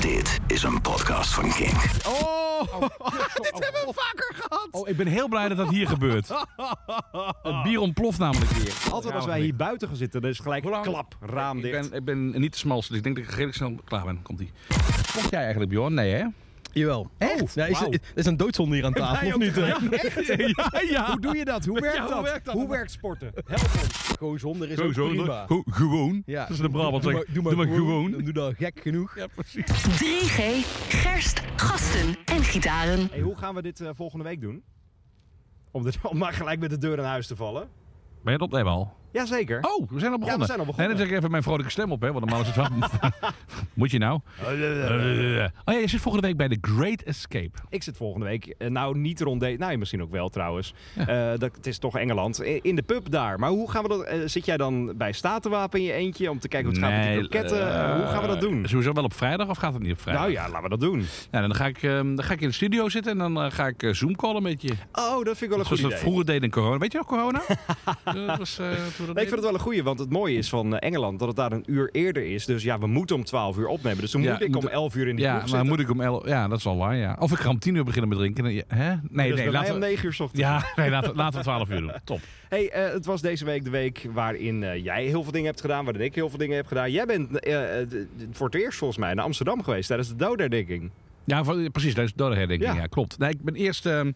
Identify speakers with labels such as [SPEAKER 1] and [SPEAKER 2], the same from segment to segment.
[SPEAKER 1] Dit is een podcast van King.
[SPEAKER 2] Oh,
[SPEAKER 3] Ah, Dit hebben we vaker gehad.
[SPEAKER 2] oh, ik ben heel blij dat dat hier gebeurt. Het bier ontploft namelijk weer.
[SPEAKER 3] Altijd als wij hier buiten gaan zitten, dan is gelijk
[SPEAKER 2] Hoe lang-
[SPEAKER 3] klap, raam
[SPEAKER 2] Ik
[SPEAKER 3] dicht.
[SPEAKER 2] ben, ik ben niet de smalste, dus ik denk dat ik redelijk snel klaar ben. Komt-ie. Kocht jij eigenlijk, Bjorn? Nee, hè?
[SPEAKER 4] Jawel. Echt? ja, is,
[SPEAKER 3] wauw.
[SPEAKER 4] er is een doodzonde hier aan tafel, of niet? hè?
[SPEAKER 2] Ja, ja.
[SPEAKER 3] Hoe doe je dat? Hoe werkt,
[SPEAKER 2] hoe
[SPEAKER 3] dat?
[SPEAKER 2] werkt dat?
[SPEAKER 3] Hoe werkt sporten? Help ons.
[SPEAKER 4] Gewoon zonder is ook
[SPEAKER 2] Sowieso.
[SPEAKER 4] prima.
[SPEAKER 2] Go- gewoon.
[SPEAKER 4] Ja.
[SPEAKER 2] Dat is de Brabant.
[SPEAKER 4] Doe
[SPEAKER 2] zeg.
[SPEAKER 4] maar, doe maar gewoon. Dan doe dat gek genoeg.
[SPEAKER 2] Ja, precies.
[SPEAKER 5] 3G, gerst, gasten en gitaren.
[SPEAKER 3] Hey, hoe gaan we dit eh, volgende week doen? Om, de, om maar gelijk met de deur in huis te vallen.
[SPEAKER 2] Ben je het opnemen al?
[SPEAKER 3] Jazeker.
[SPEAKER 2] Oh, we zijn al begonnen.
[SPEAKER 3] we zijn al begonnen.
[SPEAKER 2] Nee, dan zeg ik even mijn vrolijke stem op, hè, want normaal is het wel... Moet je nou?
[SPEAKER 3] Oh,
[SPEAKER 2] Eh, oh ja, je zit volgende week bij The Great Escape.
[SPEAKER 3] Ik zit volgende week, eh, nou niet rond deze, nou misschien ook wel trouwens. Eh, dat, het is toch Engeland, eh, in de pub daar. Maar hoe gaan we dat, eh, zit jij dan bij Statenwapen in je eentje om te kijken hoe het gaat met die
[SPEAKER 2] eh,
[SPEAKER 3] loketten? hoe gaan we dat doen?
[SPEAKER 2] Sowieso wel op vrijdag of gaat het niet op vrijdag?
[SPEAKER 3] Nou ja, laten we dat doen.
[SPEAKER 2] Nou, dan, ga ik, ehm, dan ga ik in de studio zitten en dan eh, ga ik eh, Zoom callen met je.
[SPEAKER 3] Oh, dat vind ik wel een goed
[SPEAKER 2] Zoals we
[SPEAKER 3] idee.
[SPEAKER 2] dat vroeger deden in corona. Weet je nog corona? dat was, eh, toen dat
[SPEAKER 3] Nee, ik vind het wel een goeie, want het mooie is van eh, Engeland dat het daar een uur eerder is. Dus ja, we moeten om 12 uur opnemen. Dus dan
[SPEAKER 2] Ja,
[SPEAKER 3] moet ik
[SPEAKER 2] moet-
[SPEAKER 3] om 11 uur in die
[SPEAKER 2] Ja,
[SPEAKER 3] kroeg
[SPEAKER 2] maar
[SPEAKER 3] zitten.
[SPEAKER 2] moet ik om 11 Ja, dat is al lang, ja. Of ik ga om 10 uur beginnen met drinken. dan- ja, Hè? Nee,
[SPEAKER 3] Dus
[SPEAKER 2] nee,
[SPEAKER 3] bij mij
[SPEAKER 2] laten
[SPEAKER 3] om
[SPEAKER 2] we...
[SPEAKER 3] 9 uur 's ochtends.
[SPEAKER 2] Ja, nee, laten, we- laten we 12 uur doen. Top.
[SPEAKER 3] Hey, eh, het was deze week de week waarin eh, jij heel veel dingen hebt gedaan, waarin ik heel veel dingen heb gedaan. Jij bent eh, eh, d- d- voor het eerst volgens mij naar Amsterdam geweest tijdens de dodenherdenking.
[SPEAKER 2] Ja, van- precies. Dat is dodenherdenking.
[SPEAKER 3] Ja.
[SPEAKER 2] Ja. ja, klopt. Nee, ik ben eerst ehm,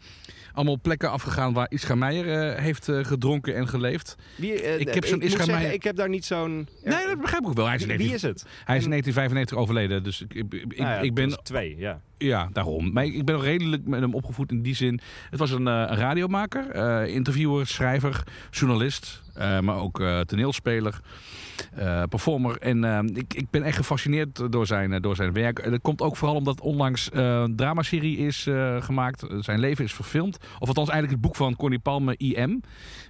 [SPEAKER 2] allemaal plekken afgegaan waar Ischa Meijer eh, heeft eh, gedronken en geleefd.
[SPEAKER 3] Wie, eh,
[SPEAKER 2] Ik heb zo'n
[SPEAKER 3] moet
[SPEAKER 2] Ischa
[SPEAKER 3] zeggen,
[SPEAKER 2] Meijer-
[SPEAKER 3] Ik heb daar niet zo'n...
[SPEAKER 2] Nee, dat begrijp ik ook wel. Hij is, in
[SPEAKER 3] wie,
[SPEAKER 2] 19
[SPEAKER 3] wie is het?
[SPEAKER 2] Hij is in 1995 overleden, dus ik, ik, ik,
[SPEAKER 3] Nou ja,
[SPEAKER 2] ik
[SPEAKER 3] dat
[SPEAKER 2] ben
[SPEAKER 3] is twee, ja.
[SPEAKER 2] Ja, daarom. Maar ik, ik ben nog redelijk met hem opgevoed in die zin. Het was een eh, een radiomaker, eh, interviewer, schrijver, journalist, eh, maar ook eh, toneelspeler, eh, performer. En eh, ik, ik ben echt gefascineerd door zijn, eh, door zijn werk. En dat komt ook vooral omdat onlangs eh, een dramaserie is eh, gemaakt. Eh, Zijn leven is verfilmd. Of althans eigenlijk het boek van Connie Palme, IM.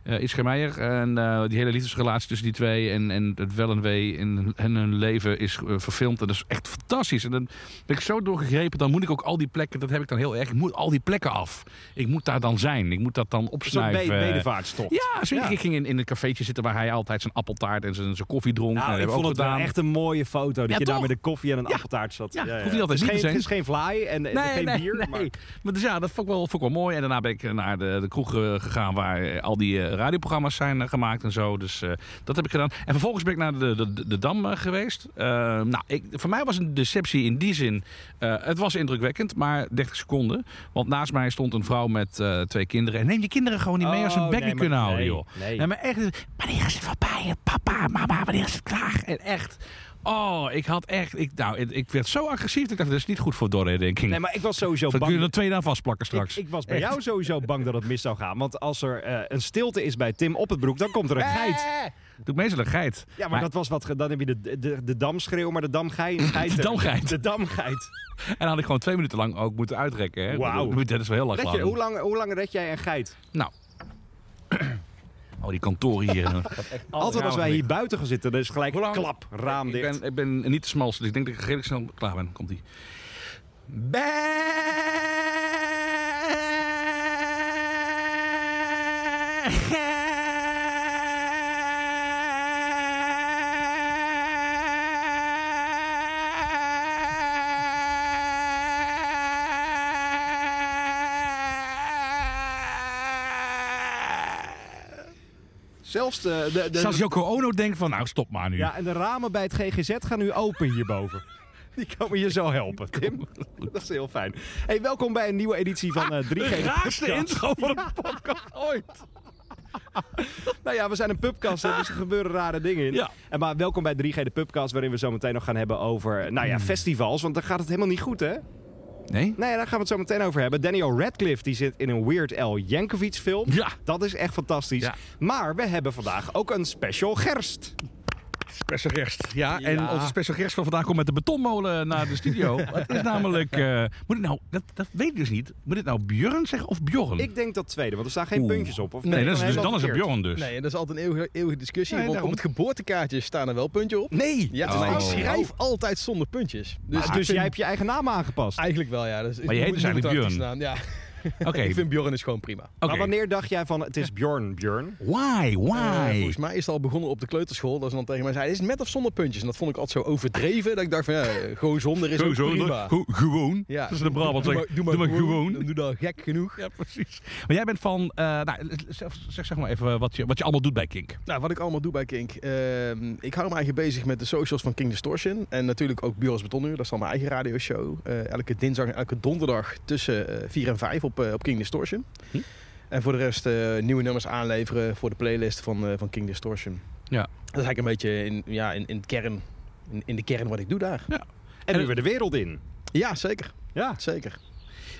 [SPEAKER 2] eh Ischa Meijer. En eh, die hele liefdesrelatie tussen die twee en, en het wel en wee en, en hun leven is eh, verfilmd. En dat is echt fantastisch. En dan ben ik zo doorgegrepen, dan moet ik ook al die plekken, dat heb ik dan heel erg, ik moet al die plekken af. Ik moet daar dan zijn. Ik moet dat dan
[SPEAKER 3] Een soort
[SPEAKER 2] opsnuiven.
[SPEAKER 3] be- bedevaartstocht.
[SPEAKER 2] Ja, zo,
[SPEAKER 3] Ja.
[SPEAKER 2] ik ging in, in een cafeetje zitten waar hij altijd zijn appeltaart en zijn, zijn koffie dronk.
[SPEAKER 3] Nou,
[SPEAKER 2] en
[SPEAKER 3] ik
[SPEAKER 2] hebben
[SPEAKER 3] vond
[SPEAKER 2] we ook
[SPEAKER 3] het wel
[SPEAKER 2] gedaan.
[SPEAKER 3] echt een mooie foto. Dat
[SPEAKER 2] Ja,
[SPEAKER 3] je daar
[SPEAKER 2] toch?
[SPEAKER 3] met een koffie en een appeltaart zat.
[SPEAKER 2] Ja, hoeft niet altijd
[SPEAKER 3] het, is
[SPEAKER 2] niet te
[SPEAKER 3] geen, het is
[SPEAKER 2] zijn.
[SPEAKER 3] geen vlaai en, en eh, geen bier.
[SPEAKER 2] Nee.
[SPEAKER 3] Maar...
[SPEAKER 2] Maar dus ja, dat vond ik, wel, vond ik wel mooi. En daarna ben ik naar de, de kroeg eh, gegaan waar eh, al die eh, radioprogramma's zijn eh, gemaakt en zo. Dus eh, dat heb ik gedaan. En vervolgens ben ik naar de, de, de, de Dam eh, geweest. Eh, nou, ik, voor mij was een deceptie in die zin. eh, het was indrukwekkend, maar 30 seconden. Want naast mij stond een vrouw met eh, twee kinderen. En neem je kinderen gewoon niet mee als ze
[SPEAKER 3] Oh,
[SPEAKER 2] hun bek
[SPEAKER 3] nee,
[SPEAKER 2] niet kunnen
[SPEAKER 3] maar-
[SPEAKER 2] houden,
[SPEAKER 3] nee,
[SPEAKER 2] joh.
[SPEAKER 3] nee.
[SPEAKER 2] Ja, maar echt, wanneer is het voorbij? Papa, mama, wanneer is het klaar? En echt... Oh, ik had echt... Ik, nou, ik- ik werd zo agressief. dat Ik dacht, dat is niet goed voor doorredenking.
[SPEAKER 3] Nee, maar ik was sowieso
[SPEAKER 2] Dat kun je
[SPEAKER 3] bang.
[SPEAKER 2] er twee dagen vastplakken straks.
[SPEAKER 3] Ik, ik was bij jou sowieso bang dat het mis zou gaan. Want als er eh, een stilte is bij Tim op het broek, dan komt er een
[SPEAKER 2] Eh.
[SPEAKER 3] geit.
[SPEAKER 2] Doe ik meestal een geit.
[SPEAKER 3] Ja, maar, dat was wat. ge- Dan heb je de, de, de damschreeuw, maar de damgeit.
[SPEAKER 2] De damgeit.
[SPEAKER 3] De damgeit.
[SPEAKER 2] En dan had ik gewoon twee minuten lang ook moeten uitrekken. Hè?
[SPEAKER 3] Wauw.
[SPEAKER 2] Dat- Dat is wel heel lang.
[SPEAKER 3] Red je,
[SPEAKER 2] geleden.
[SPEAKER 3] hoe, lang, hoe lang red jij een geit?
[SPEAKER 2] Nou. Oh, die kantoren hier.
[SPEAKER 3] Altijd als wij hier buiten gaan zitten, dan is gelijk
[SPEAKER 2] Hoe lang?
[SPEAKER 3] klap, raam
[SPEAKER 2] Ik
[SPEAKER 3] dicht.
[SPEAKER 2] ben, ik ben niet de smalste, dus ik denk dat ik redelijk snel klaar ben. Komt-ie.
[SPEAKER 3] Zelfs de... de, de-
[SPEAKER 2] Zelfs Joko Ono denkt van, nou stop maar nu.
[SPEAKER 3] ja, en de ramen bij het GGZ gaan nu open hierboven. Die komen je zo helpen, Tim. Dat is heel fijn. Hey, welkom bij een nieuwe editie van eh 3G.
[SPEAKER 2] de
[SPEAKER 3] de
[SPEAKER 2] raarste
[SPEAKER 3] podcast.
[SPEAKER 2] intro van een podcast ooit.
[SPEAKER 3] Nou ja, we zijn een pubcast, hè, dus er gebeuren rare dingen in.
[SPEAKER 2] Ja.
[SPEAKER 3] En maar welkom bij 3G, de pubcast, waarin we zo meteen nog gaan hebben over nou
[SPEAKER 2] Hmm.
[SPEAKER 3] ja, festivals. Want daar gaat het helemaal niet goed, hè?
[SPEAKER 2] Nee?
[SPEAKER 3] Nee, daar gaan we het zo meteen over hebben. Daniel Radcliffe die zit in een Weird Al Yankovic film.
[SPEAKER 2] Ja.
[SPEAKER 3] Dat is echt fantastisch.
[SPEAKER 2] Ja.
[SPEAKER 3] Maar we hebben vandaag ook een special gerst.
[SPEAKER 2] Special guest. Ja, en onze special guest van vandaag komt met de betonmolen naar de studio. het is namelijk... eh, moet ik nou... Dat, dat weet ik dus niet. Moet ik nou Björn zeggen of Bjorn?
[SPEAKER 3] Ik denk dat tweede, want er staan geen
[SPEAKER 2] Oeh.
[SPEAKER 3] puntjes op. Of ben
[SPEAKER 2] Nee,
[SPEAKER 3] ik
[SPEAKER 2] dat is, dus,
[SPEAKER 3] helemaal
[SPEAKER 2] dan is het
[SPEAKER 3] verkeerd?
[SPEAKER 2] Bjorn dus.
[SPEAKER 4] Nee, dat is altijd een eeuwige, eeuwige discussie.
[SPEAKER 2] Nee,
[SPEAKER 4] want op
[SPEAKER 2] daarom.
[SPEAKER 4] het geboortekaartje staan er wel puntje op.
[SPEAKER 3] Nee.
[SPEAKER 4] Ja,
[SPEAKER 2] Oh.
[SPEAKER 4] dus ik schrijf altijd zonder puntjes. Dus,
[SPEAKER 3] Dus, dus
[SPEAKER 2] Ah,
[SPEAKER 4] ik vind-
[SPEAKER 3] jij hebt je eigen naam aangepast.
[SPEAKER 4] Eigenlijk wel, ja. Dus
[SPEAKER 2] Maar je heet dus eigenlijk Björn.
[SPEAKER 4] Ja.
[SPEAKER 2] Oké.
[SPEAKER 4] Ik vind Bjorn is gewoon prima.
[SPEAKER 2] oké.
[SPEAKER 3] Maar wanneer dacht jij van het is Bjorn, Bjorn?
[SPEAKER 2] Why?
[SPEAKER 4] Eh,
[SPEAKER 2] Why?
[SPEAKER 4] volgens mij is het al begonnen op de kleuterschool. Dat ze dan tegen mij zei, is het met of zonder puntjes? En dat vond ik altijd zo overdreven. Dat ik dacht van, ja, eh, gewoon zonder is ook prima.
[SPEAKER 2] Go- gewoon.
[SPEAKER 4] Ja.
[SPEAKER 2] Dat is de Brabant. zeg.
[SPEAKER 4] Dan doe dat gek genoeg.
[SPEAKER 2] Ja, precies. Maar jij bent van... eh, nou, zeg, zeg zeg maar even wat je, wat je allemaal doet bij Kink.
[SPEAKER 4] Nou, wat ik allemaal doe bij Kink. ehm, ik hou me eigenlijk bezig met de socials van King Distortion. En natuurlijk ook Bureaus Betonuur. Dat is dan mijn eigen radioshow. Eh, elke dinsdag en elke donderdag tussen eh, 4 en 5 op, eh, op King Distortion.
[SPEAKER 2] Hm.
[SPEAKER 4] En voor de rest eh, nieuwe nummers aanleveren voor de playlist van, eh, van King Distortion.
[SPEAKER 2] Ja.
[SPEAKER 4] Dat is eigenlijk een beetje in, ja, in, in, het kern, in, in de kern wat ik doe daar.
[SPEAKER 3] En nu weer de wereld in.
[SPEAKER 4] Ja, zeker.
[SPEAKER 3] Ja.
[SPEAKER 4] zeker.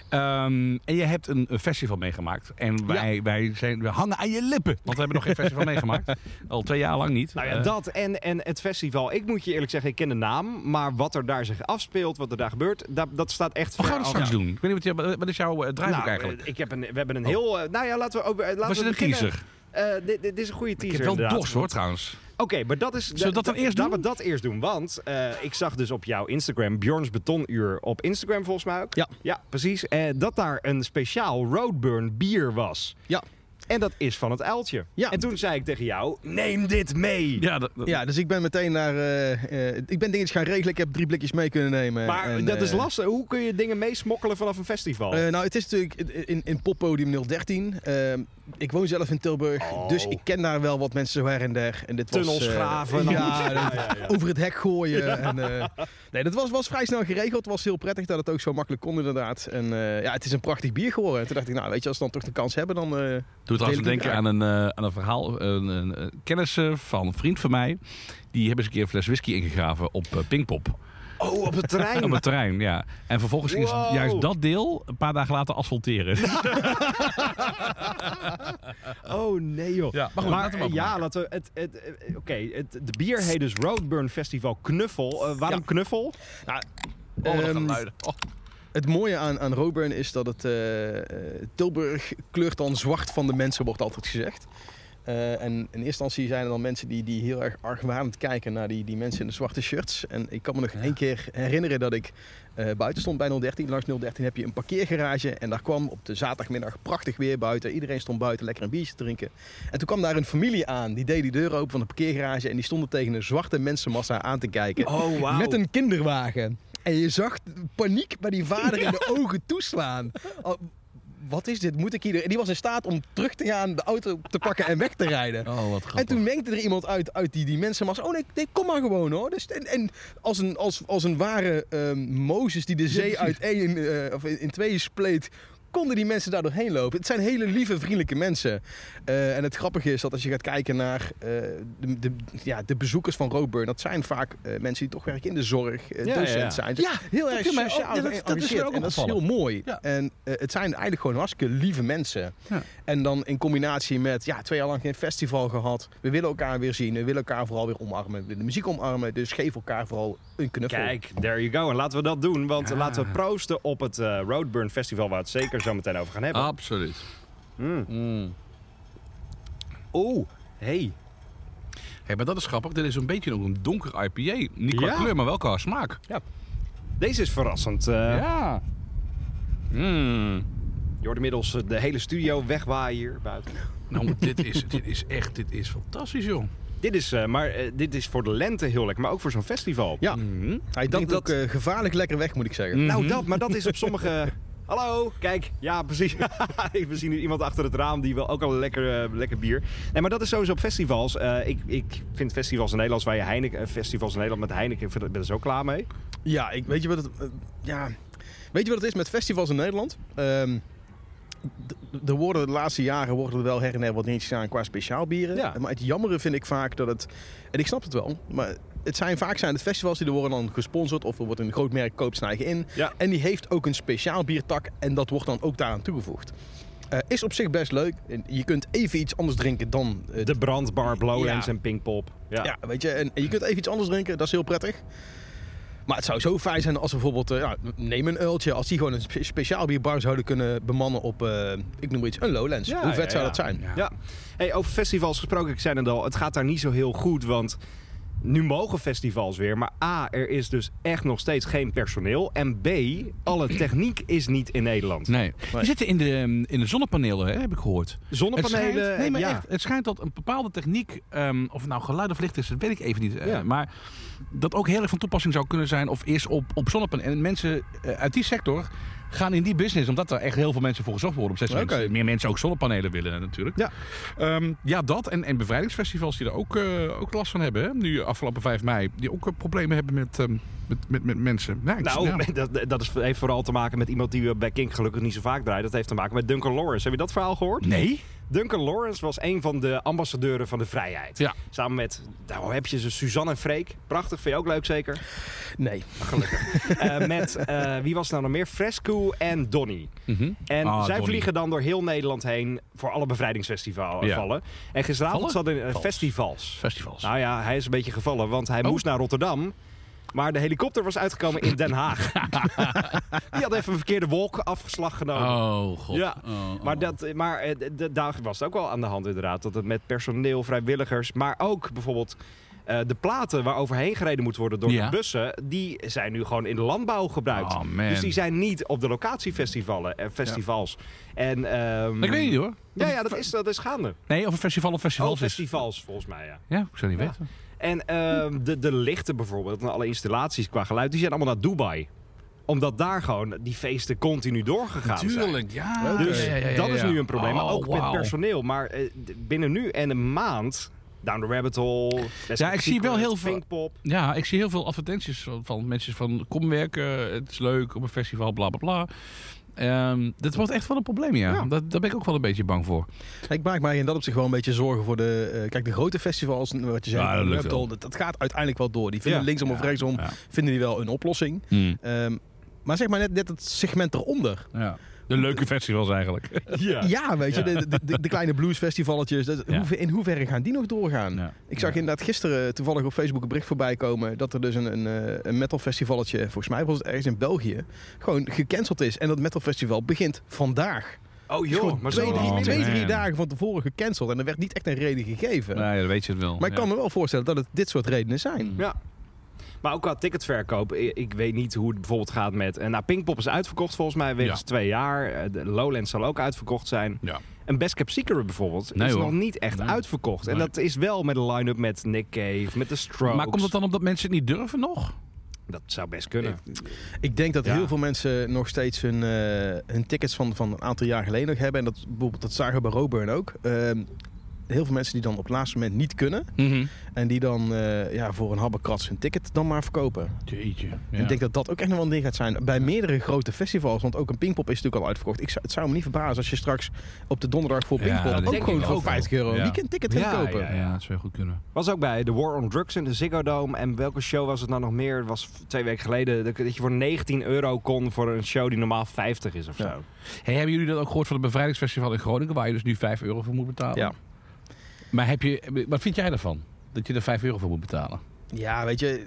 [SPEAKER 2] Ehm, en je hebt een een festival meegemaakt. En wij, wij zijn, we hangen aan je lippen. Want we hebben nog geen festival meegemaakt. Al twee jaar lang niet.
[SPEAKER 3] Nou ja,
[SPEAKER 2] Eh,
[SPEAKER 3] dat en, en het festival. Ik moet je eerlijk zeggen, ik ken de naam. Maar wat er daar zich afspeelt, wat er daar gebeurt, dat, dat staat echt
[SPEAKER 2] we gaan het
[SPEAKER 3] af.
[SPEAKER 2] straks doen. Ik weet niet, wat, je, wat is jouw eh, draaiboek
[SPEAKER 3] Nou,
[SPEAKER 2] eigenlijk?
[SPEAKER 3] eh, Ik heb een, we hebben een heel... eh, nou ja, laten we... ook- eh, laten
[SPEAKER 2] Was
[SPEAKER 3] we
[SPEAKER 2] het een
[SPEAKER 3] beginnen.
[SPEAKER 2] teaser?
[SPEAKER 3] Eh, dit, dit is een goede
[SPEAKER 2] Ik
[SPEAKER 3] teaser
[SPEAKER 2] heb wel
[SPEAKER 3] inderdaad.
[SPEAKER 2] dorst hoor trouwens.
[SPEAKER 3] Oké, maar dat is...
[SPEAKER 2] Zullen we dat dan
[SPEAKER 3] da-
[SPEAKER 2] eerst
[SPEAKER 3] Laten
[SPEAKER 2] doen?
[SPEAKER 3] we dat eerst doen, want eh, ik zag dus op jouw Instagram, Bjorns Betonuur op Instagram volgens mij ook.
[SPEAKER 4] Ja.
[SPEAKER 3] Ja, precies. eh, dat daar een speciaal Roadburn bier was.
[SPEAKER 4] Ja.
[SPEAKER 3] En dat is van het uiltje.
[SPEAKER 4] Ja.
[SPEAKER 3] En toen zei ik tegen jou, neem dit mee.
[SPEAKER 2] Ja, dat, dat-
[SPEAKER 4] Ja, dus ik ben meteen naar... eh, eh, ik ben dingetjes gaan regelen. Ik heb drie blikjes mee kunnen nemen.
[SPEAKER 3] Maar
[SPEAKER 4] En,
[SPEAKER 3] dat is
[SPEAKER 4] eh,
[SPEAKER 3] lastig. Hoe kun je dingen meesmokkelen vanaf een festival?
[SPEAKER 4] Eh, nou, het is natuurlijk in, in poppodium 013. Ehm, ik woon zelf in Tilburg,
[SPEAKER 3] Oh.
[SPEAKER 4] dus ik ken daar wel wat mensen zo her en der. En dit
[SPEAKER 3] Tunnels
[SPEAKER 4] was, eh,
[SPEAKER 3] graven.
[SPEAKER 4] ja,
[SPEAKER 3] Ja, ja, ja.
[SPEAKER 4] over het hek gooien. En, eh, nee, dat was, was vrij snel geregeld. Het was heel prettig dat het ook zo makkelijk kon inderdaad. En eh, ja, het is een prachtig bier geworden. En toen dacht ik, nou weet je, als we dan toch de kans hebben, dan...
[SPEAKER 3] Oh,
[SPEAKER 4] eh,
[SPEAKER 2] Doe het trouwens
[SPEAKER 4] Deel ik
[SPEAKER 2] denken aan een, eh, aan een verhaal. Een, een, een kennis eh, van een vriend van mij. Die hebben eens een keer een fles whisky ingegraven op eh, Pinkpop.
[SPEAKER 3] Oh, op het
[SPEAKER 2] Op
[SPEAKER 3] terrein.
[SPEAKER 2] het terrein, ja. En vervolgens gingen ze
[SPEAKER 3] Wow.
[SPEAKER 2] juist dat deel een paar dagen later asfalteren.
[SPEAKER 3] Oh nee joh.
[SPEAKER 2] Ja, maar goed, laten we
[SPEAKER 3] eh,
[SPEAKER 2] openmaken.
[SPEAKER 3] ja, laten we het, het, eh, Oké, het- de bier heet dus Roadburn Festival Knuffel. Eh, waarom Knuffel?
[SPEAKER 2] Oh, dat gaat
[SPEAKER 4] ehm,
[SPEAKER 2] luiden. Oh.
[SPEAKER 4] Het mooie aan, aan Roburn is dat het eh, eh, Tilburg kleurt dan zwart van de mensen, wordt altijd gezegd. Eh, en in eerste instantie zijn er dan mensen die, die heel erg argwanend kijken naar die, die mensen in de zwarte shirts. En ik kan me nog één keer herinneren dat ik eh, buiten stond bij 013. Langs 013 heb je een parkeergarage. En daar kwam op de zaterdagmiddag prachtig weer buiten. Iedereen stond buiten lekker een biertje te drinken. En toen kwam daar een familie aan. Die deed die deur open van de parkeergarage. En die stonden tegen een zwarte mensenmassa aan te kijken.
[SPEAKER 3] Oh wow.
[SPEAKER 4] Met een kinderwagen. En je zag paniek bij die vader in de ogen toeslaan. Al- wat is dit? Moet ik hier... En die was in staat om terug te gaan, de auto te pakken en weg te rijden.
[SPEAKER 2] Oh, wat
[SPEAKER 4] En
[SPEAKER 2] grappig.
[SPEAKER 4] toen mengde er iemand uit, uit die, die mensen was. Oh nee, nee, kom maar gewoon hoor. Dus, en en als, een, als, als een ware ehm Mozes die de zee uit één, eh, of in, in tweeën spleet. Konden die mensen daar doorheen lopen? Het zijn hele lieve, vriendelijke mensen. Eh, en het grappige is dat als je gaat kijken naar eh, de, de, ja, de bezoekers van Roadburn, dat zijn vaak eh, mensen die toch werken in de zorg, eh,
[SPEAKER 3] Ja,
[SPEAKER 4] docent
[SPEAKER 3] ja, ja.
[SPEAKER 4] zijn.
[SPEAKER 2] Ja,
[SPEAKER 4] heel
[SPEAKER 2] dat
[SPEAKER 4] erg
[SPEAKER 2] viel mij ook-
[SPEAKER 4] sociaal.
[SPEAKER 2] ja, dat- dat is
[SPEAKER 4] geëngageerd.
[SPEAKER 2] mij ook
[SPEAKER 4] en dat is heel
[SPEAKER 2] opgevallen.
[SPEAKER 4] mooi.
[SPEAKER 2] Ja.
[SPEAKER 4] En eh, het zijn eigenlijk gewoon hartstikke lieve mensen.
[SPEAKER 2] Ja.
[SPEAKER 4] En dan in combinatie met, ja, twee jaar lang geen festival gehad. We willen elkaar weer zien. We willen elkaar vooral weer omarmen. We willen de muziek omarmen. Dus geef elkaar vooral een knuffel.
[SPEAKER 3] Kijk, there you go. En laten we dat doen, want eh, laten we proosten op het eh, Roadburn Festival, waar we het zeker zo meteen over gaan hebben.
[SPEAKER 2] Ah. Absoluut.
[SPEAKER 3] Mm.
[SPEAKER 2] Mm.
[SPEAKER 3] Oeh, hey.
[SPEAKER 2] Hé, maar dat is grappig. Dit is een beetje ook een donker IPA. Niet qua
[SPEAKER 3] Ja.
[SPEAKER 2] kleur, maar wel qua smaak.
[SPEAKER 3] Deze is verrassend. eh
[SPEAKER 2] Ja. Mm.
[SPEAKER 3] Je hoort inmiddels eh, de hele studio wegwaaien hier buiten.
[SPEAKER 2] Nou, dit is, dit is echt dit is fantastisch, joh.
[SPEAKER 3] Dit is, eh, maar, eh, dit is voor de lente heel lekker, maar ook voor zo'n festival.
[SPEAKER 4] Ja,
[SPEAKER 2] Mhm.
[SPEAKER 4] hij
[SPEAKER 3] denk
[SPEAKER 4] denkt ook eh, gevaarlijk lekker weg, moet ik zeggen.
[SPEAKER 2] Mm.
[SPEAKER 3] Nou,
[SPEAKER 2] Mhm.
[SPEAKER 3] dat, maar dat is op sommige. Hallo, kijk, ja, precies. We zien hier iemand achter het raam die wil ook al een lekker, eh, lekker bier. Nee, maar dat is sowieso op festivals. Eh, ik, ik vind festivals in Nederland waar je Heineken, eh, festivals in Nederland met Heineken, ik vind- ik ben er zo klaar mee.
[SPEAKER 4] Ja, ik, weet je wat het... eh, ja. Weet je wat het is met festivals in Nederland? Ehm, d- er worden de laatste jaren worden er wel her en her wat dingetjes aan qua speciaal bieren.
[SPEAKER 3] Ja.
[SPEAKER 4] Maar het jammere vind ik vaak dat het... En ik snap het wel, maar het zijn vaak zijn het festivals die er worden dan gesponsord. Of er wordt een groot merk koopt zijn eigen in.
[SPEAKER 3] Ja.
[SPEAKER 4] En die heeft ook een speciaal biertak en dat wordt dan ook daaraan toegevoegd. Eh, is op zich best leuk. En Je kunt even iets anders drinken dan eh,
[SPEAKER 3] De brandbar, Blowlands
[SPEAKER 4] Ja.
[SPEAKER 3] en Pinkpop. Ja.
[SPEAKER 4] ja, weet je, en en je kunt even iets anders drinken, dat is heel prettig. Maar het zou zo fijn zijn als we bijvoorbeeld, eh, ja, neem een uiltje, als die gewoon een spe- speciaal bierbar zouden kunnen bemannen op, eh, ik noem maar iets, een Lowlands.
[SPEAKER 3] Ja,
[SPEAKER 4] Hoe vet
[SPEAKER 3] ja,
[SPEAKER 4] zou
[SPEAKER 3] ja.
[SPEAKER 4] dat zijn?
[SPEAKER 3] Ja. Hey, over festivals gesproken, ik zei het al, het gaat daar niet zo heel goed. Want nu mogen festivals weer, maar A, er is dus echt nog steeds geen personeel. En B, alle techniek is niet in Nederland.
[SPEAKER 2] Nee. Die zitten in de, ehm, in de zonnepanelen, hè, heb ik gehoord. Het
[SPEAKER 3] Zonnepanelen, eh,
[SPEAKER 2] schijnt, nee, maar
[SPEAKER 3] ja.
[SPEAKER 2] echt, het schijnt dat een bepaalde techniek, ehm, of het nou geluid of licht is, dat weet ik even niet. eh,
[SPEAKER 3] Ja.
[SPEAKER 2] Maar dat ook heel erg van toepassing zou kunnen zijn, of is op, op zonnepanelen. En mensen eh, uit die sector gaan in die business, omdat er echt heel veel mensen voor gezocht worden. Op zes
[SPEAKER 4] Oké.
[SPEAKER 2] mensen. Meer mensen ook zonnepanelen willen eh, natuurlijk.
[SPEAKER 3] Ja.
[SPEAKER 2] Ehm, ja dat en, en bevrijdingsfestivals die er ook, eh, ook last van hebben. Hè? Nu afgelopen 5 mei, die ook eh, problemen hebben met, ehm, met, met, met mensen. Nou, ik-
[SPEAKER 3] Nou,
[SPEAKER 2] ja.
[SPEAKER 3] dat, dat is, heeft vooral te maken met iemand die we bij Kink gelukkig niet zo vaak draait. Dat heeft te maken met Duncan Lawrence. Heb je dat verhaal gehoord?
[SPEAKER 2] Nee?
[SPEAKER 3] Duncan Lawrence was een van de ambassadeuren van de vrijheid.
[SPEAKER 2] Ja.
[SPEAKER 3] Samen met, nou heb je ze, Suzanne en Freek. Prachtig, vind je ook leuk zeker?
[SPEAKER 4] Nee.
[SPEAKER 3] Eh, met, eh, wie was er nou nog meer? Fresco en Donny.
[SPEAKER 2] Mhm.
[SPEAKER 3] En
[SPEAKER 2] Ah,
[SPEAKER 3] zij
[SPEAKER 2] Donnie.
[SPEAKER 3] vliegen dan door heel Nederland heen voor alle bevrijdingsfestivals
[SPEAKER 2] Ja.
[SPEAKER 3] vallen. En gisteravond
[SPEAKER 2] Vallen?
[SPEAKER 3] zat in eh,
[SPEAKER 2] Vals.
[SPEAKER 3] festivals.
[SPEAKER 2] Festivals.
[SPEAKER 3] Nou ja, hij is een beetje gevallen, want hij
[SPEAKER 2] Oh.
[SPEAKER 3] moest naar Rotterdam. Maar de helikopter was uitgekomen in Den Haag. Die had even een verkeerde wolk afgeslag genomen.
[SPEAKER 2] oh, god.
[SPEAKER 3] Nou, Ja,
[SPEAKER 2] Oh, oh,
[SPEAKER 3] Maar,
[SPEAKER 2] oh.
[SPEAKER 3] dat, maar eh, d- d- daar was het ook wel aan de hand inderdaad. Dat het met personeel, vrijwilligers, maar ook bijvoorbeeld eh, de platen waar overheen gereden moet worden door
[SPEAKER 2] Ja.
[SPEAKER 3] de bussen. Die zijn nu gewoon in de landbouw gebruikt.
[SPEAKER 2] Oh, man.
[SPEAKER 3] Dus die zijn niet op de locatiefestivalen en festivals. En, ehm,
[SPEAKER 2] Ik weet niet hoor.
[SPEAKER 3] Ja, ja dat, is, dat is gaande.
[SPEAKER 2] Nee, of een festival of festivals.
[SPEAKER 3] Al
[SPEAKER 2] is.
[SPEAKER 3] festivals volgens mij, ja.
[SPEAKER 2] Ja, ik zou niet
[SPEAKER 3] Oh, Ja.
[SPEAKER 2] weten.
[SPEAKER 3] En ehm, de, de lichten bijvoorbeeld en alle installaties qua geluid, die zijn allemaal naar Dubai. Omdat daar gewoon die feesten continu doorgegaan zijn.
[SPEAKER 2] ja.
[SPEAKER 3] Dus
[SPEAKER 2] Ja, ja, ja, ja,
[SPEAKER 3] dat is
[SPEAKER 2] ja.
[SPEAKER 3] nu een probleem. maar
[SPEAKER 2] Oh,
[SPEAKER 3] ook met
[SPEAKER 2] wauw.
[SPEAKER 3] personeel. Maar eh, d- binnen nu en een maand... Down the Rabbit Hole... Best eh,
[SPEAKER 2] Ja, ik zie wel heel veel-
[SPEAKER 3] Pinkpop.
[SPEAKER 2] Ja, ik zie heel veel advertenties van, van mensen van kom werken, het is leuk, op een festival, bla bla bla. Ehm, dat wordt echt wel een probleem, ja.
[SPEAKER 3] Ja.
[SPEAKER 2] Dat, daar ben ik ook wel een beetje bang voor.
[SPEAKER 4] Ik maak mij in dat opzicht wel een beetje zorgen voor de... eh, kijk, de grote festivals, wat je zei,
[SPEAKER 2] Ja, dat lukt
[SPEAKER 4] Red Bull,
[SPEAKER 2] wel.
[SPEAKER 4] dat, dat gaat uiteindelijk wel door. Die vinden
[SPEAKER 3] Ja.
[SPEAKER 4] linksom of rechtsom,
[SPEAKER 2] Ja.
[SPEAKER 4] vinden die wel een oplossing.
[SPEAKER 2] Hmm.
[SPEAKER 4] Ehm, maar zeg maar net, net het segment eronder.
[SPEAKER 2] Ja. De leuke festivals eigenlijk.
[SPEAKER 3] Ja.
[SPEAKER 4] Ja, weet je,
[SPEAKER 3] Ja.
[SPEAKER 4] De, de, de- de kleine bluesfestivalletjes. Dat,
[SPEAKER 2] Ja.
[SPEAKER 4] hoeve- in hoeverre gaan die nog doorgaan?
[SPEAKER 2] Ja.
[SPEAKER 4] Ik zag
[SPEAKER 2] Ja.
[SPEAKER 4] inderdaad gisteren toevallig op Facebook een bericht voorbij komen... dat er dus een, een, eh, een metalfestivalletje, volgens mij was het ergens in België... gewoon gecanceld is. En dat metalfestival begint vandaag.
[SPEAKER 3] Oh
[SPEAKER 4] Dus
[SPEAKER 3] joh,
[SPEAKER 4] gewoon
[SPEAKER 3] maar
[SPEAKER 4] twee,
[SPEAKER 3] zo
[SPEAKER 4] drie,
[SPEAKER 2] lang.
[SPEAKER 4] twee,
[SPEAKER 2] Oh,
[SPEAKER 4] drie
[SPEAKER 2] man.
[SPEAKER 4] dagen van tevoren gecanceld. En er werd niet echt een reden gegeven.
[SPEAKER 2] Nee, dat weet je het wel.
[SPEAKER 4] Maar ik
[SPEAKER 2] Ja.
[SPEAKER 4] kan me wel voorstellen dat het dit soort redenen zijn.
[SPEAKER 3] Ja. Maar ook qua ticketverkoop, i- ik weet niet hoe het bijvoorbeeld gaat met... eh, Nou, Pinkpop is uitverkocht volgens mij, wegens
[SPEAKER 2] Ja.
[SPEAKER 3] twee jaar. Eh, de Lowlands zal ook uitverkocht zijn.
[SPEAKER 2] Ja.
[SPEAKER 3] Een Best Cap Secret bijvoorbeeld
[SPEAKER 2] Nee,
[SPEAKER 3] is
[SPEAKER 2] hoor.
[SPEAKER 3] nog niet echt
[SPEAKER 2] Nee.
[SPEAKER 3] uitverkocht. En
[SPEAKER 2] Nee.
[SPEAKER 3] dat is wel met een line-up met Nick Cave, met de Strokes.
[SPEAKER 2] Maar komt het dan omdat mensen het niet durven nog?
[SPEAKER 3] Dat zou best kunnen.
[SPEAKER 4] Ik denk dat
[SPEAKER 3] Ja.
[SPEAKER 4] heel veel mensen nog steeds hun, eh, hun tickets van, van een aantal jaar geleden nog hebben. En dat, bijvoorbeeld, dat zagen we bij Roburn ook. Ehm, heel veel mensen die dan op het laatste moment niet kunnen.
[SPEAKER 2] Mhm.
[SPEAKER 4] En die dan eh, ja, voor een habbekrats hun ticket dan maar verkopen.
[SPEAKER 2] Jeetje.
[SPEAKER 4] En ik denk dat dat ook echt nog wel een ding gaat zijn. Bij meerdere grote festivals. Want ook een Pinkpop is natuurlijk al uitverkocht. Ik zou, het zou me niet verbazen als je straks op de donderdag voor
[SPEAKER 2] Ja,
[SPEAKER 4] Pinkpop...
[SPEAKER 2] dat denk
[SPEAKER 4] ook
[SPEAKER 2] ik
[SPEAKER 4] gewoon
[SPEAKER 2] ook
[SPEAKER 4] voor
[SPEAKER 2] wel.
[SPEAKER 4] 50 euro
[SPEAKER 2] Ja.
[SPEAKER 4] een weekendticket
[SPEAKER 3] Ja,
[SPEAKER 4] gaat kopen.
[SPEAKER 3] ja,
[SPEAKER 2] Ja, dat zou goed kunnen.
[SPEAKER 3] Was ook bij de War on Drugs in de Ziggo Dome. En welke show was het nou nog meer? Het was twee weken geleden dat dat je voor 19 euro kon voor een show die normaal 50 is of
[SPEAKER 4] Ja.
[SPEAKER 3] zo.
[SPEAKER 2] Hey, hebben jullie dat ook gehoord van het bevrijdingsfestival in Groningen, waar je dus nu 5 euro voor moet betalen?
[SPEAKER 4] Ja.
[SPEAKER 2] Maar heb je, wat vind jij daarvan? Dat je er 5 euro voor moet betalen?
[SPEAKER 4] ja, weet je,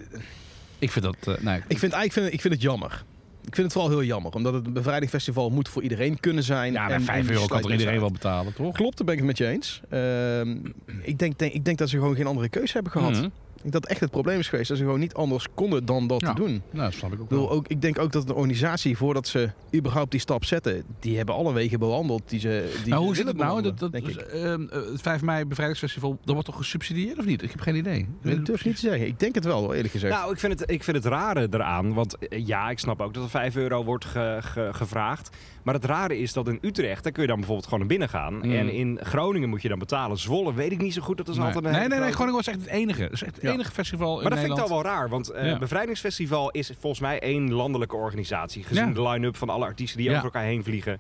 [SPEAKER 2] Ik vind dat. eh, nee,
[SPEAKER 4] Ik vind, ik, vind, ik vind het jammer. Ik vind het vooral heel jammer, omdat het een bevrijdingsfestival moet voor iedereen kunnen zijn.
[SPEAKER 2] ja, maar
[SPEAKER 4] En-
[SPEAKER 2] 5
[SPEAKER 4] en
[SPEAKER 2] euro kan
[SPEAKER 4] sluit
[SPEAKER 2] toch iedereen wel
[SPEAKER 4] mensen
[SPEAKER 2] betalen, toch?
[SPEAKER 4] uit. Klopt, daar ben ik het met je eens. Ehm, ik, denk, denk, ik denk dat ze gewoon geen andere keuze hebben gehad.
[SPEAKER 2] Mhm.
[SPEAKER 4] Ik denk dat echt het probleem is geweest dat ze gewoon niet anders konden dan dat
[SPEAKER 2] Ja.
[SPEAKER 4] te doen. Ik,
[SPEAKER 2] Nou, dat snap ik ook
[SPEAKER 4] bedoel,
[SPEAKER 2] wel.
[SPEAKER 4] ook, ik denk ook dat de organisatie, voordat ze überhaupt die stap zetten, die hebben alle wegen bewandeld die ze die
[SPEAKER 2] Nou,
[SPEAKER 4] ze
[SPEAKER 2] hoe zit
[SPEAKER 4] willen
[SPEAKER 2] het nou? Dat,
[SPEAKER 4] bewandelen,
[SPEAKER 2] dat,
[SPEAKER 4] denk ik.
[SPEAKER 2] ehm, eh, het 5 mei bevrijdingsfestival, dat wordt toch gesubsidieerd of niet? Ik heb geen idee. Ik weet
[SPEAKER 4] Ik
[SPEAKER 2] het
[SPEAKER 4] durf niet te zeggen. Ik denk het wel, hoor, eerlijk gezegd.
[SPEAKER 3] Nou, ik vind, het, ik vind het rare eraan. Want eh, ja, ik snap ook dat er 5 euro wordt ge- ge- gevraagd. Maar het rare is dat in Utrecht, daar kun je dan bijvoorbeeld gewoon naar binnen gaan.
[SPEAKER 2] Mm.
[SPEAKER 3] En in Groningen moet je dan betalen. Zwolle weet ik niet zo goed. Dat is
[SPEAKER 2] Nee.
[SPEAKER 3] altijd een
[SPEAKER 2] nee,
[SPEAKER 3] hele
[SPEAKER 2] nee, nee,
[SPEAKER 3] grote-
[SPEAKER 2] Groningen was echt het enige. Dat is echt het
[SPEAKER 4] Ja.
[SPEAKER 2] enige festival in
[SPEAKER 3] Maar dat
[SPEAKER 2] Nederland.
[SPEAKER 3] vind ik dan wel raar, want eh
[SPEAKER 2] Ja.
[SPEAKER 3] Bevrijdingsfestival is volgens mij één landelijke organisatie. Gezien
[SPEAKER 2] Ja.
[SPEAKER 3] de line-up van alle artiesten die
[SPEAKER 2] Ja.
[SPEAKER 3] over elkaar heen vliegen.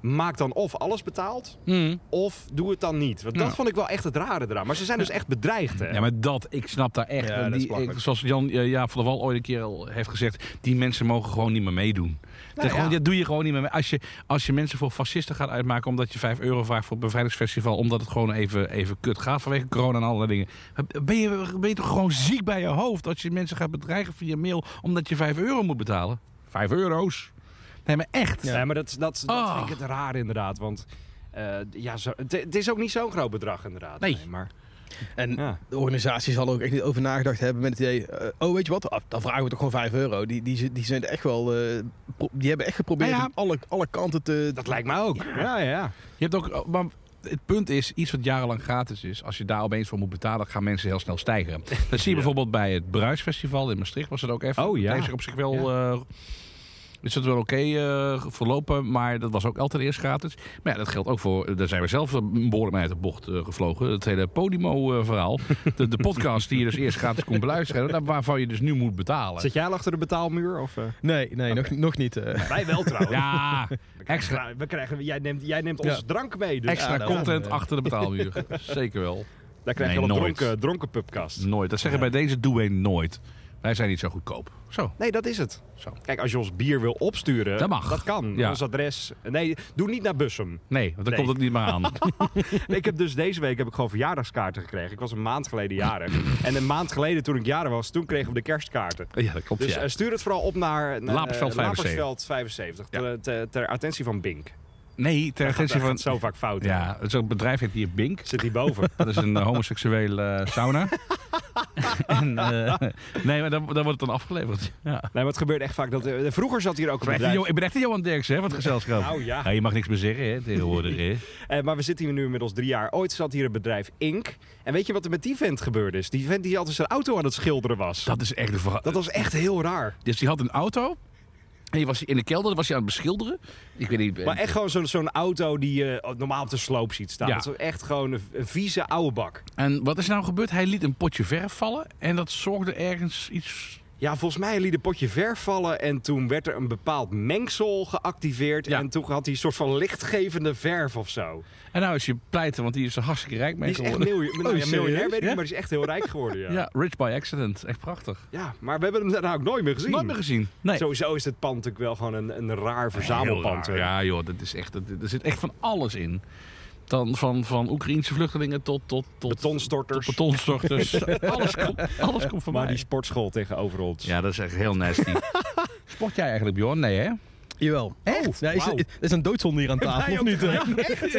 [SPEAKER 3] Maak dan of alles betaald,
[SPEAKER 2] Mm.
[SPEAKER 3] of doe het dan niet. Want dat
[SPEAKER 2] Ja.
[SPEAKER 3] vond ik wel echt het rare eraan. Maar ze zijn dus echt bedreigd, hè?
[SPEAKER 2] Nou. Ja, maar dat, ik snap daar echt.
[SPEAKER 4] Ja,
[SPEAKER 2] eh,
[SPEAKER 4] dat is
[SPEAKER 2] die,
[SPEAKER 4] belachelijk.
[SPEAKER 2] ik- zoals Jan eh, Jaap van der Wal ooit een keer al heeft gezegd, die mensen mogen gewoon niet meer meedoen. dat,
[SPEAKER 3] Nou ja.
[SPEAKER 2] gewoon, dat doe je gewoon niet meer mee. Als je, als je mensen voor fascisten gaat uitmaken omdat je 5 euro vraagt voor het bevrijdingsfestival, omdat het gewoon even, even kut gaat vanwege corona en allerlei dingen. Ben je, ben je toch gewoon ziek bij je hoofd als je mensen gaat bedreigen via mail omdat je 5 euro moet betalen? 5 euro's. Nee, maar echt.
[SPEAKER 3] Ja, maar dat, dat, dat
[SPEAKER 2] Ah.
[SPEAKER 3] vind ik het raar inderdaad. Want eh, ja, zo, het, het is ook niet zo'n groot bedrag inderdaad.
[SPEAKER 2] Nee.
[SPEAKER 3] maar
[SPEAKER 4] En
[SPEAKER 3] Ja.
[SPEAKER 4] de organisatie zal er ook echt niet over nagedacht hebben met het idee... eh, oh, weet je wat? Ah, dan vragen we toch gewoon 5 euro. Die, die, zi- die zijn echt wel... eh, pro- die hebben echt geprobeerd
[SPEAKER 3] Nou ja.
[SPEAKER 4] om alle, alle kanten te...
[SPEAKER 3] Dat lijkt mij ook. Ja, ja, ja.
[SPEAKER 2] Je hebt ook, oh, maar het punt is, iets wat jarenlang gratis is, als je daar opeens voor moet betalen, gaan mensen heel snel stijgen. Dat zie je bijvoorbeeld bij het Bruisfestival in Maastricht, was dat ook even.
[SPEAKER 3] Oh, ja.
[SPEAKER 2] Dat heeft zich op zich wel. eh, is dat wel oké eh, verlopen, maar dat was ook altijd eerst gratis. Maar ja, dat geldt ook voor, daar zijn we zelf een behoorlijk mee uit de bocht eh, gevlogen. Het hele Podimo-verhaal. de, de podcast die je dus eerst gratis kon beluisteren, daar- waarvan je dus nu moet betalen.
[SPEAKER 3] Zit jij al achter de betaalmuur? Of, eh?
[SPEAKER 4] Nee, nee, nog, nog niet. eh.
[SPEAKER 3] Wij wel trouwens.
[SPEAKER 2] Ja, extra,
[SPEAKER 3] We krijgen, jij neemt, jij neemt ons
[SPEAKER 4] Ja.
[SPEAKER 3] drank mee. Dus
[SPEAKER 2] extra
[SPEAKER 3] ja, dan-
[SPEAKER 2] content achter de betaalmuur. Zeker wel.
[SPEAKER 3] Daar krijg je
[SPEAKER 2] Nee,
[SPEAKER 3] wel een
[SPEAKER 2] nooit.
[SPEAKER 3] dronken, dronken pubcast.
[SPEAKER 2] Nooit. Dat zeggen bij deze Douwe nooit. Wij zijn niet zo goedkoop. Zo.
[SPEAKER 3] Nee, dat is het.
[SPEAKER 2] Zo.
[SPEAKER 3] Kijk, als je ons bier wil opsturen,
[SPEAKER 2] Dat mag.
[SPEAKER 3] kan.
[SPEAKER 2] Ja.
[SPEAKER 3] Ons adres. Nee, doe niet naar Bussum.
[SPEAKER 2] Nee, want dan
[SPEAKER 3] Nee.
[SPEAKER 2] komt het niet meer aan.
[SPEAKER 3] ik heb dus deze week heb ik gewoon verjaardagskaarten gekregen. Ik was een maand geleden jarig. en een maand geleden toen ik jarig was, toen kregen we de kerstkaarten.
[SPEAKER 2] ja, dat klopt.
[SPEAKER 3] Dus
[SPEAKER 2] ja.
[SPEAKER 3] eh, stuur het vooral op naar eh,
[SPEAKER 2] Lapersveld
[SPEAKER 3] eh,
[SPEAKER 2] 75.
[SPEAKER 3] Lapersveld 75
[SPEAKER 2] Ja.
[SPEAKER 3] ter, ter- ter attentie van Bink.
[SPEAKER 2] Nee, ter
[SPEAKER 3] Dat
[SPEAKER 2] attentie
[SPEAKER 3] gaat
[SPEAKER 2] van...
[SPEAKER 3] zo vaak fout. hè.
[SPEAKER 2] Ja, zo'n bedrijf heet hier Bink.
[SPEAKER 3] Zit hierboven.
[SPEAKER 2] Dat is een eh, homoseksuele eh, sauna. en, eh, nee, maar dan, dan wordt het dan afgeleverd. Ja.
[SPEAKER 3] nee, maar het gebeurt echt vaak. Dat, eh, vroeger zat hier ook
[SPEAKER 2] Ik,
[SPEAKER 3] een
[SPEAKER 2] ben echt een,
[SPEAKER 3] bedrijf.
[SPEAKER 2] Jo- ik ben echt een Johan Derks, hè, van het gezelschap.
[SPEAKER 3] Nou ja.
[SPEAKER 2] je mag niks meer zeggen, hè, tegenwoordig. Hè.
[SPEAKER 3] Eh, maar we zitten hier nu inmiddels drie jaar. Ooit zat hier een bedrijf Ink. En weet je wat er met die vent gebeurd is? Die vent die altijd zijn auto aan het schilderen was.
[SPEAKER 2] Dat is echt een verhaal.
[SPEAKER 3] Dat was echt heel raar.
[SPEAKER 2] Dus die had een auto. En die was in de kelder, was hij aan het beschilderen. Ik weet niet... eh,
[SPEAKER 3] Maar echt gewoon zo'n zo'n auto die je eh, normaal op de sloop ziet staan.
[SPEAKER 2] Ja.
[SPEAKER 3] Dat is echt gewoon een, een vieze oude bak.
[SPEAKER 2] En wat is nou gebeurd? Hij liet een potje verf vallen. En dat zorgde ergens iets
[SPEAKER 3] Ja, volgens mij liet een potje verf vallen en toen werd er een bepaald mengsel geactiveerd.
[SPEAKER 2] Ja.
[SPEAKER 3] En toen had hij een soort van lichtgevende verf of zo.
[SPEAKER 2] En nou is je pleiten, want die is er hartstikke rijk
[SPEAKER 3] Die
[SPEAKER 2] mee
[SPEAKER 3] is echt
[SPEAKER 2] geworden.
[SPEAKER 3] miljoen, nou ja,
[SPEAKER 4] serieus?
[SPEAKER 3] miljonair, weet ik
[SPEAKER 2] Oh, Ja?
[SPEAKER 3] niet, maar die is echt heel rijk geworden. Ja.
[SPEAKER 2] ja. Rich by Accident. Echt prachtig.
[SPEAKER 3] Ja, maar we hebben hem daarna ook nooit meer gezien.
[SPEAKER 2] Nooit meer gezien. Nee.
[SPEAKER 3] Sowieso is dit pand natuurlijk wel gewoon een, een raar verzamelpand.
[SPEAKER 2] Heel
[SPEAKER 3] hè.
[SPEAKER 2] raar. Ja joh, dat is echt, dat, er zit echt van alles in. Dan van, van Oekraïnse vluchtelingen tot, tot, tot
[SPEAKER 3] Betonstorters.
[SPEAKER 2] tot betonstorters. alles, komt, alles komt van
[SPEAKER 3] maar
[SPEAKER 2] mij.
[SPEAKER 3] die sportschool tegenover ons.
[SPEAKER 2] Ja, dat is echt heel nasty. Sport jij eigenlijk, Bjorn? Nee,
[SPEAKER 4] Eh,
[SPEAKER 2] hè?
[SPEAKER 4] Jawel. Echt? Ja, is,
[SPEAKER 3] wauw.
[SPEAKER 4] is, is een doodzonde hier aan tafel, of niet? eh?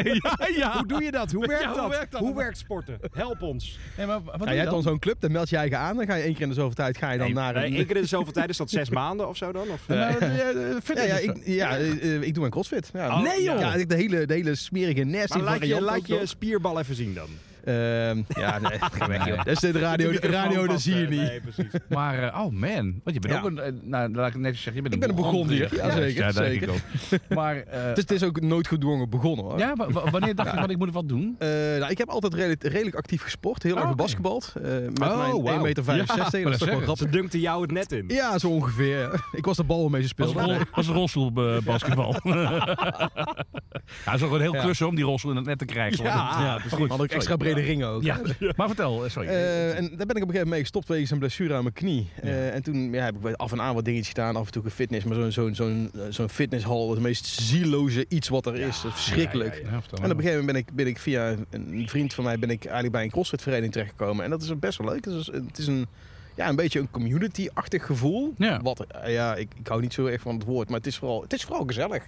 [SPEAKER 2] ja, ja.
[SPEAKER 3] Hoe doe je dat? Hoe werkt,
[SPEAKER 2] hoe
[SPEAKER 3] dat?
[SPEAKER 2] werkt dat?
[SPEAKER 3] Hoe werkt sporten? Help ons.
[SPEAKER 2] Nee, maar wat
[SPEAKER 4] Nou Ja,
[SPEAKER 2] doe
[SPEAKER 4] jij
[SPEAKER 2] je
[SPEAKER 4] hebt
[SPEAKER 2] dan?
[SPEAKER 4] dan zo'n club, dan meld je je eigen aan. Dan ga je één keer in de zoveel tijd ga je dan
[SPEAKER 2] Nee,
[SPEAKER 4] naar een...
[SPEAKER 3] Nee, één keer in de zoveel tijd is dat zes maanden of zo dan? Of?
[SPEAKER 2] Nou, eh, eh,
[SPEAKER 4] ja,
[SPEAKER 2] fitness
[SPEAKER 4] ja,
[SPEAKER 2] of zo.
[SPEAKER 4] ik, ja eh, eh, ik doe mijn crossfit. Ja.
[SPEAKER 3] Oh, Nee, joh.
[SPEAKER 4] Ja, de hele, de hele smerige nasty
[SPEAKER 3] maar laat je,
[SPEAKER 4] variant
[SPEAKER 3] laat
[SPEAKER 4] ook
[SPEAKER 3] je
[SPEAKER 4] nog.
[SPEAKER 3] spierbal even zien dan.
[SPEAKER 4] Ehm, ja, nee. ga weg, joh. Dat is dit radio,
[SPEAKER 3] Doe die
[SPEAKER 4] radio
[SPEAKER 3] microfoon
[SPEAKER 4] dat zie je
[SPEAKER 3] vast,
[SPEAKER 4] niet.
[SPEAKER 3] eh, Nee, precies.
[SPEAKER 2] Maar, eh, oh man, want je bent
[SPEAKER 4] Ja.
[SPEAKER 2] ook een, eh, nou, laat ik het netjes zeggen, je bent
[SPEAKER 4] Ik ben een Burgondier.
[SPEAKER 2] Burgondier.
[SPEAKER 4] Ja, zeker,
[SPEAKER 2] Ja, dat denk ik
[SPEAKER 4] zeker.
[SPEAKER 2] ook. Maar, eh,
[SPEAKER 4] Het is, het is ook nooit gedwongen begonnen hoor.
[SPEAKER 2] ja, wa- wa- wanneer dacht je van ik moet wat doen?
[SPEAKER 4] Eh, nou, ik heb altijd redelijk, redelijk actief gesport. Heel
[SPEAKER 2] Oh,
[SPEAKER 4] erg
[SPEAKER 2] oké.
[SPEAKER 4] gebasketbald. eh, met
[SPEAKER 3] Oh,
[SPEAKER 4] mijn
[SPEAKER 3] wauw.
[SPEAKER 4] 1,65 meter. dat
[SPEAKER 2] Ja,
[SPEAKER 4] is toch wel
[SPEAKER 2] maar dat
[SPEAKER 4] grappig.
[SPEAKER 3] Ze dunkte jou het net in.
[SPEAKER 4] Ja, zo ongeveer. Ik was de bal waarmee ze
[SPEAKER 2] Was
[SPEAKER 4] speelden.
[SPEAKER 2] een, rol, was een rolstoelbasketbal. ja, het is ook een heel
[SPEAKER 4] Ja.
[SPEAKER 2] klus hoor, om die rolstoel in het net te
[SPEAKER 3] Ja,
[SPEAKER 2] krijgen. Want het-
[SPEAKER 3] Ah, ja,
[SPEAKER 4] Maar goed, had ook extra brede ringen ook.
[SPEAKER 2] Ja. Maar vertel, eh, sorry.
[SPEAKER 4] Eh, en daar ben ik op een gegeven moment mee gestopt wegens een blessure aan mijn knie. Eh, en toen ja, heb ik af en aan wat dingetjes gedaan, af en toe gefitness. Maar zo'n zo'n zo'n eh, zo'n fitnesshal is het meest zieloze iets wat er is. Dat is verschrikkelijk.
[SPEAKER 2] Ja, vertel
[SPEAKER 4] En
[SPEAKER 2] maar.
[SPEAKER 4] op een gegeven moment ben ik, ben ik via een vriend van mij ben ik eigenlijk bij een crossfitvereniging terechtgekomen. En dat is best wel leuk. Het is, het is een, ja, een beetje een community-achtig gevoel.
[SPEAKER 2] Ja.
[SPEAKER 4] Wat, eh, ja, ik, ik hou niet zo erg van het woord, maar het is vooral, het is vooral gezellig.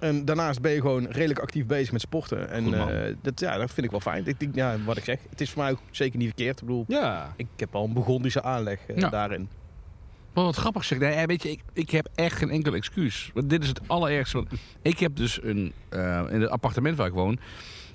[SPEAKER 4] En daarnaast ben je gewoon redelijk actief bezig met sporten. En
[SPEAKER 2] Goed, man.
[SPEAKER 4] eh, dat, ja, dat vind ik wel fijn. Ik, denk, ja, wat ik zeg, het is voor mij ook zeker niet verkeerd. Ik bedoel,
[SPEAKER 3] Ja.
[SPEAKER 4] ik heb al een begondische aanleg eh,
[SPEAKER 2] Ja.
[SPEAKER 4] daarin.
[SPEAKER 2] Wat, wat grappig zeg. Nee, weet je, ik, ik heb echt geen enkel excuus. Want dit is het allerergste. Want ik heb dus een... eh, in het appartement waar ik woon...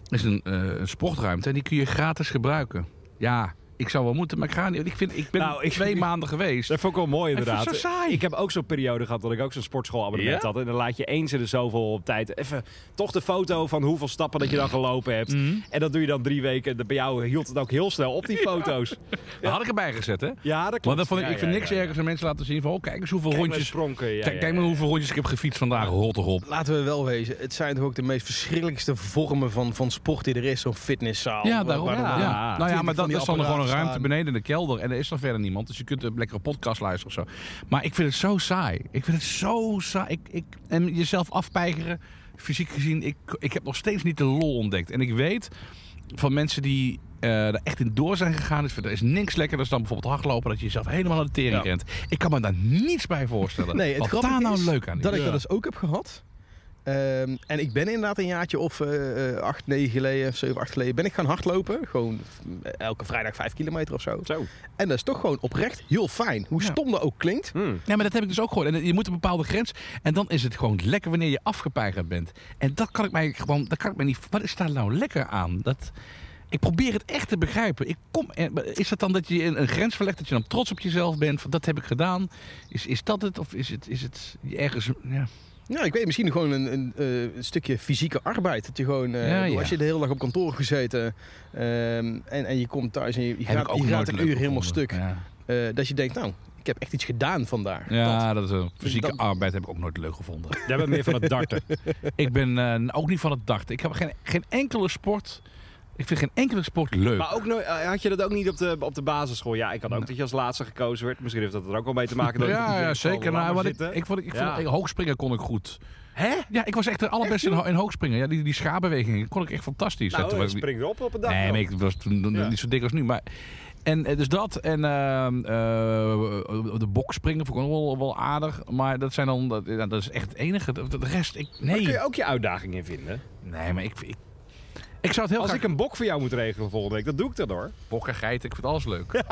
[SPEAKER 2] is een, eh, een sportruimte. En die kun je gratis gebruiken. Ja, ik zou wel moeten, maar ik ga niet. Ik, vind, ik ben
[SPEAKER 3] Nou, ik-
[SPEAKER 2] twee maanden geweest.
[SPEAKER 3] Dat vond ik wel mooi
[SPEAKER 2] Ik
[SPEAKER 3] inderdaad.
[SPEAKER 2] vind het zo saai.
[SPEAKER 3] Ik heb ook zo'n periode gehad dat ik ook zo'n sportschoolabonnement
[SPEAKER 2] Ja?
[SPEAKER 3] had. En dan laat je eens in de zoveel op tijd even toch de foto van hoeveel stappen dat je dan gelopen hebt. En dat doe je dan drie weken. En bij jou hield het ook heel snel op die foto's.
[SPEAKER 2] Dat had ik erbij gezet, hè?
[SPEAKER 3] Ja, dat klopt.
[SPEAKER 2] Want dat vond ik,
[SPEAKER 3] Ja,
[SPEAKER 2] ik vind
[SPEAKER 3] ja,
[SPEAKER 2] niks
[SPEAKER 3] ja, ja.
[SPEAKER 2] ergens aan mensen laten zien van... Oh, kijk eens hoeveel
[SPEAKER 3] Kijk maar
[SPEAKER 2] rondjes...
[SPEAKER 3] spronken, ja,
[SPEAKER 2] kijk,
[SPEAKER 3] ja,
[SPEAKER 2] kijk maar
[SPEAKER 3] ja.
[SPEAKER 2] hoeveel rondjes ik heb gefietst vandaag. Rot erop.
[SPEAKER 4] Laten we wel wezen, het zijn toch ook de meest verschrikkelijkste vormen van, van sport die er is. Zo'n fitnesszaal.
[SPEAKER 2] Ja,
[SPEAKER 4] waar-
[SPEAKER 2] daarom.
[SPEAKER 4] waar dan
[SPEAKER 2] Ja.
[SPEAKER 4] maar-
[SPEAKER 2] Nou ja,
[SPEAKER 4] Twintig
[SPEAKER 2] maar dat
[SPEAKER 4] van die
[SPEAKER 2] is dan gewoon een
[SPEAKER 4] apparaten
[SPEAKER 2] ruimte
[SPEAKER 4] staan.
[SPEAKER 2] beneden in de kelder. En er is dan verder niemand. Dus je kunt een lekkere podcast luisteren of zo. Maar ik vind het zo saai. Ik vind het zo saai. Ik, ik, en jezelf afpeigeren, fysiek gezien. Ik, ik heb nog steeds niet de lol ontdekt. En ik weet van mensen die eh er echt in door zijn gegaan. Dus er is niks lekkerder dan bijvoorbeeld hardlopen. Dat je jezelf helemaal aan de tering
[SPEAKER 4] Ja.
[SPEAKER 2] rent. Ik kan me daar niets bij voorstellen.
[SPEAKER 4] Nee, het
[SPEAKER 2] Wat daar
[SPEAKER 4] grappige
[SPEAKER 2] nou
[SPEAKER 4] is
[SPEAKER 2] leuk aan is.
[SPEAKER 4] dat ik dat dus ook heb gehad. Ehm, en ik ben inderdaad een jaartje of eh, eh, acht, negen geleden, of zeven, acht geleden, ben ik gaan hardlopen. Gewoon eh, elke vrijdag vijf kilometer of zo.
[SPEAKER 3] Zo.
[SPEAKER 4] En dat is toch gewoon oprecht heel fijn. Hoe
[SPEAKER 2] Ja.
[SPEAKER 4] stom dat ook klinkt.
[SPEAKER 3] Hmm.
[SPEAKER 2] Nee, maar dat heb ik dus ook gehoord. En je moet een bepaalde grens. En dan is het gewoon lekker wanneer je afgepeigerd bent. En dat kan ik mij gewoon. Dat kan ik mij niet. Wat is daar nou lekker aan? Dat, ik probeer het echt te begrijpen. Ik kom, en- maar is dat dan dat je een, een grens verlegt, dat je dan trots op jezelf bent? Van, dat heb ik gedaan. Is, is dat het? Of is het, is het ergens. Ja.
[SPEAKER 4] Ja, ik weet misschien gewoon een, een, eh, stukje fysieke arbeid. Dat je gewoon, eh,
[SPEAKER 2] Ja,
[SPEAKER 4] bedoel,
[SPEAKER 2] ja.
[SPEAKER 4] als je de hele dag op kantoor gezeten ehm, en, en je komt thuis en je, je
[SPEAKER 2] Heb
[SPEAKER 4] gaat,
[SPEAKER 2] ik ook
[SPEAKER 4] je gaat
[SPEAKER 2] nooit
[SPEAKER 4] een
[SPEAKER 2] leuk
[SPEAKER 4] uur helemaal
[SPEAKER 2] gevonden.
[SPEAKER 4] stuk. eh, dat je denkt, nou, ik heb echt iets gedaan vandaag.
[SPEAKER 2] Ja,
[SPEAKER 4] Dat.
[SPEAKER 2] ja dat, is een fysieke
[SPEAKER 4] dat-
[SPEAKER 2] arbeid heb ik ook nooit leuk gevonden.
[SPEAKER 3] Jij bent meer van het darten.
[SPEAKER 2] ik ben eh, ook niet van het dachten. Ik heb geen, geen enkele sport. Ik vind geen enkele sport leuk.
[SPEAKER 3] Maar ook nooit- eh, had je dat ook niet op de, op de basisschool? Ja, ik had ook dat je als laatste gekozen werd. Misschien heeft dat er ook wel mee te maken. Dat ik
[SPEAKER 2] ja,
[SPEAKER 3] niet
[SPEAKER 2] ja,
[SPEAKER 3] in de
[SPEAKER 2] zeker.
[SPEAKER 3] val
[SPEAKER 2] Nou,
[SPEAKER 3] laat
[SPEAKER 2] wat
[SPEAKER 3] maar
[SPEAKER 2] ik,
[SPEAKER 3] zitten.
[SPEAKER 2] ik, vond, ik
[SPEAKER 3] Ja.
[SPEAKER 2] vond, ik- hoogspringen kon ik goed. Hè? Ja, ik was echt de allerbeste in, ho- in hoogspringen. Ja, die, die schaarbewegingen kon ik echt fantastisch. Ja,
[SPEAKER 3] Nou,
[SPEAKER 2] toen
[SPEAKER 3] ik
[SPEAKER 2] was ik-
[SPEAKER 3] spring erop op een dag.
[SPEAKER 2] nee,
[SPEAKER 3] joh.
[SPEAKER 2] maar ik was toen nog
[SPEAKER 3] Ja.
[SPEAKER 2] niet zo dik als nu. Maar, en eh, dus dat en ehm, eh, de bokspringen vond ik ook wel, wel aardig. Maar dat zijn dan, dat, ja, dat is echt het enige. De, de rest, ik,
[SPEAKER 3] Maar
[SPEAKER 2] nee.
[SPEAKER 3] kun je ook je uitdaging in vinden?
[SPEAKER 2] Nee, maar ik, ik, ik zou het heel
[SPEAKER 3] oh. Als ik
[SPEAKER 2] graag...
[SPEAKER 3] een bok voor jou moet regelen volgende week, dat doe ik dan hoor.
[SPEAKER 2] Bokken, geiten, ik vind alles leuk.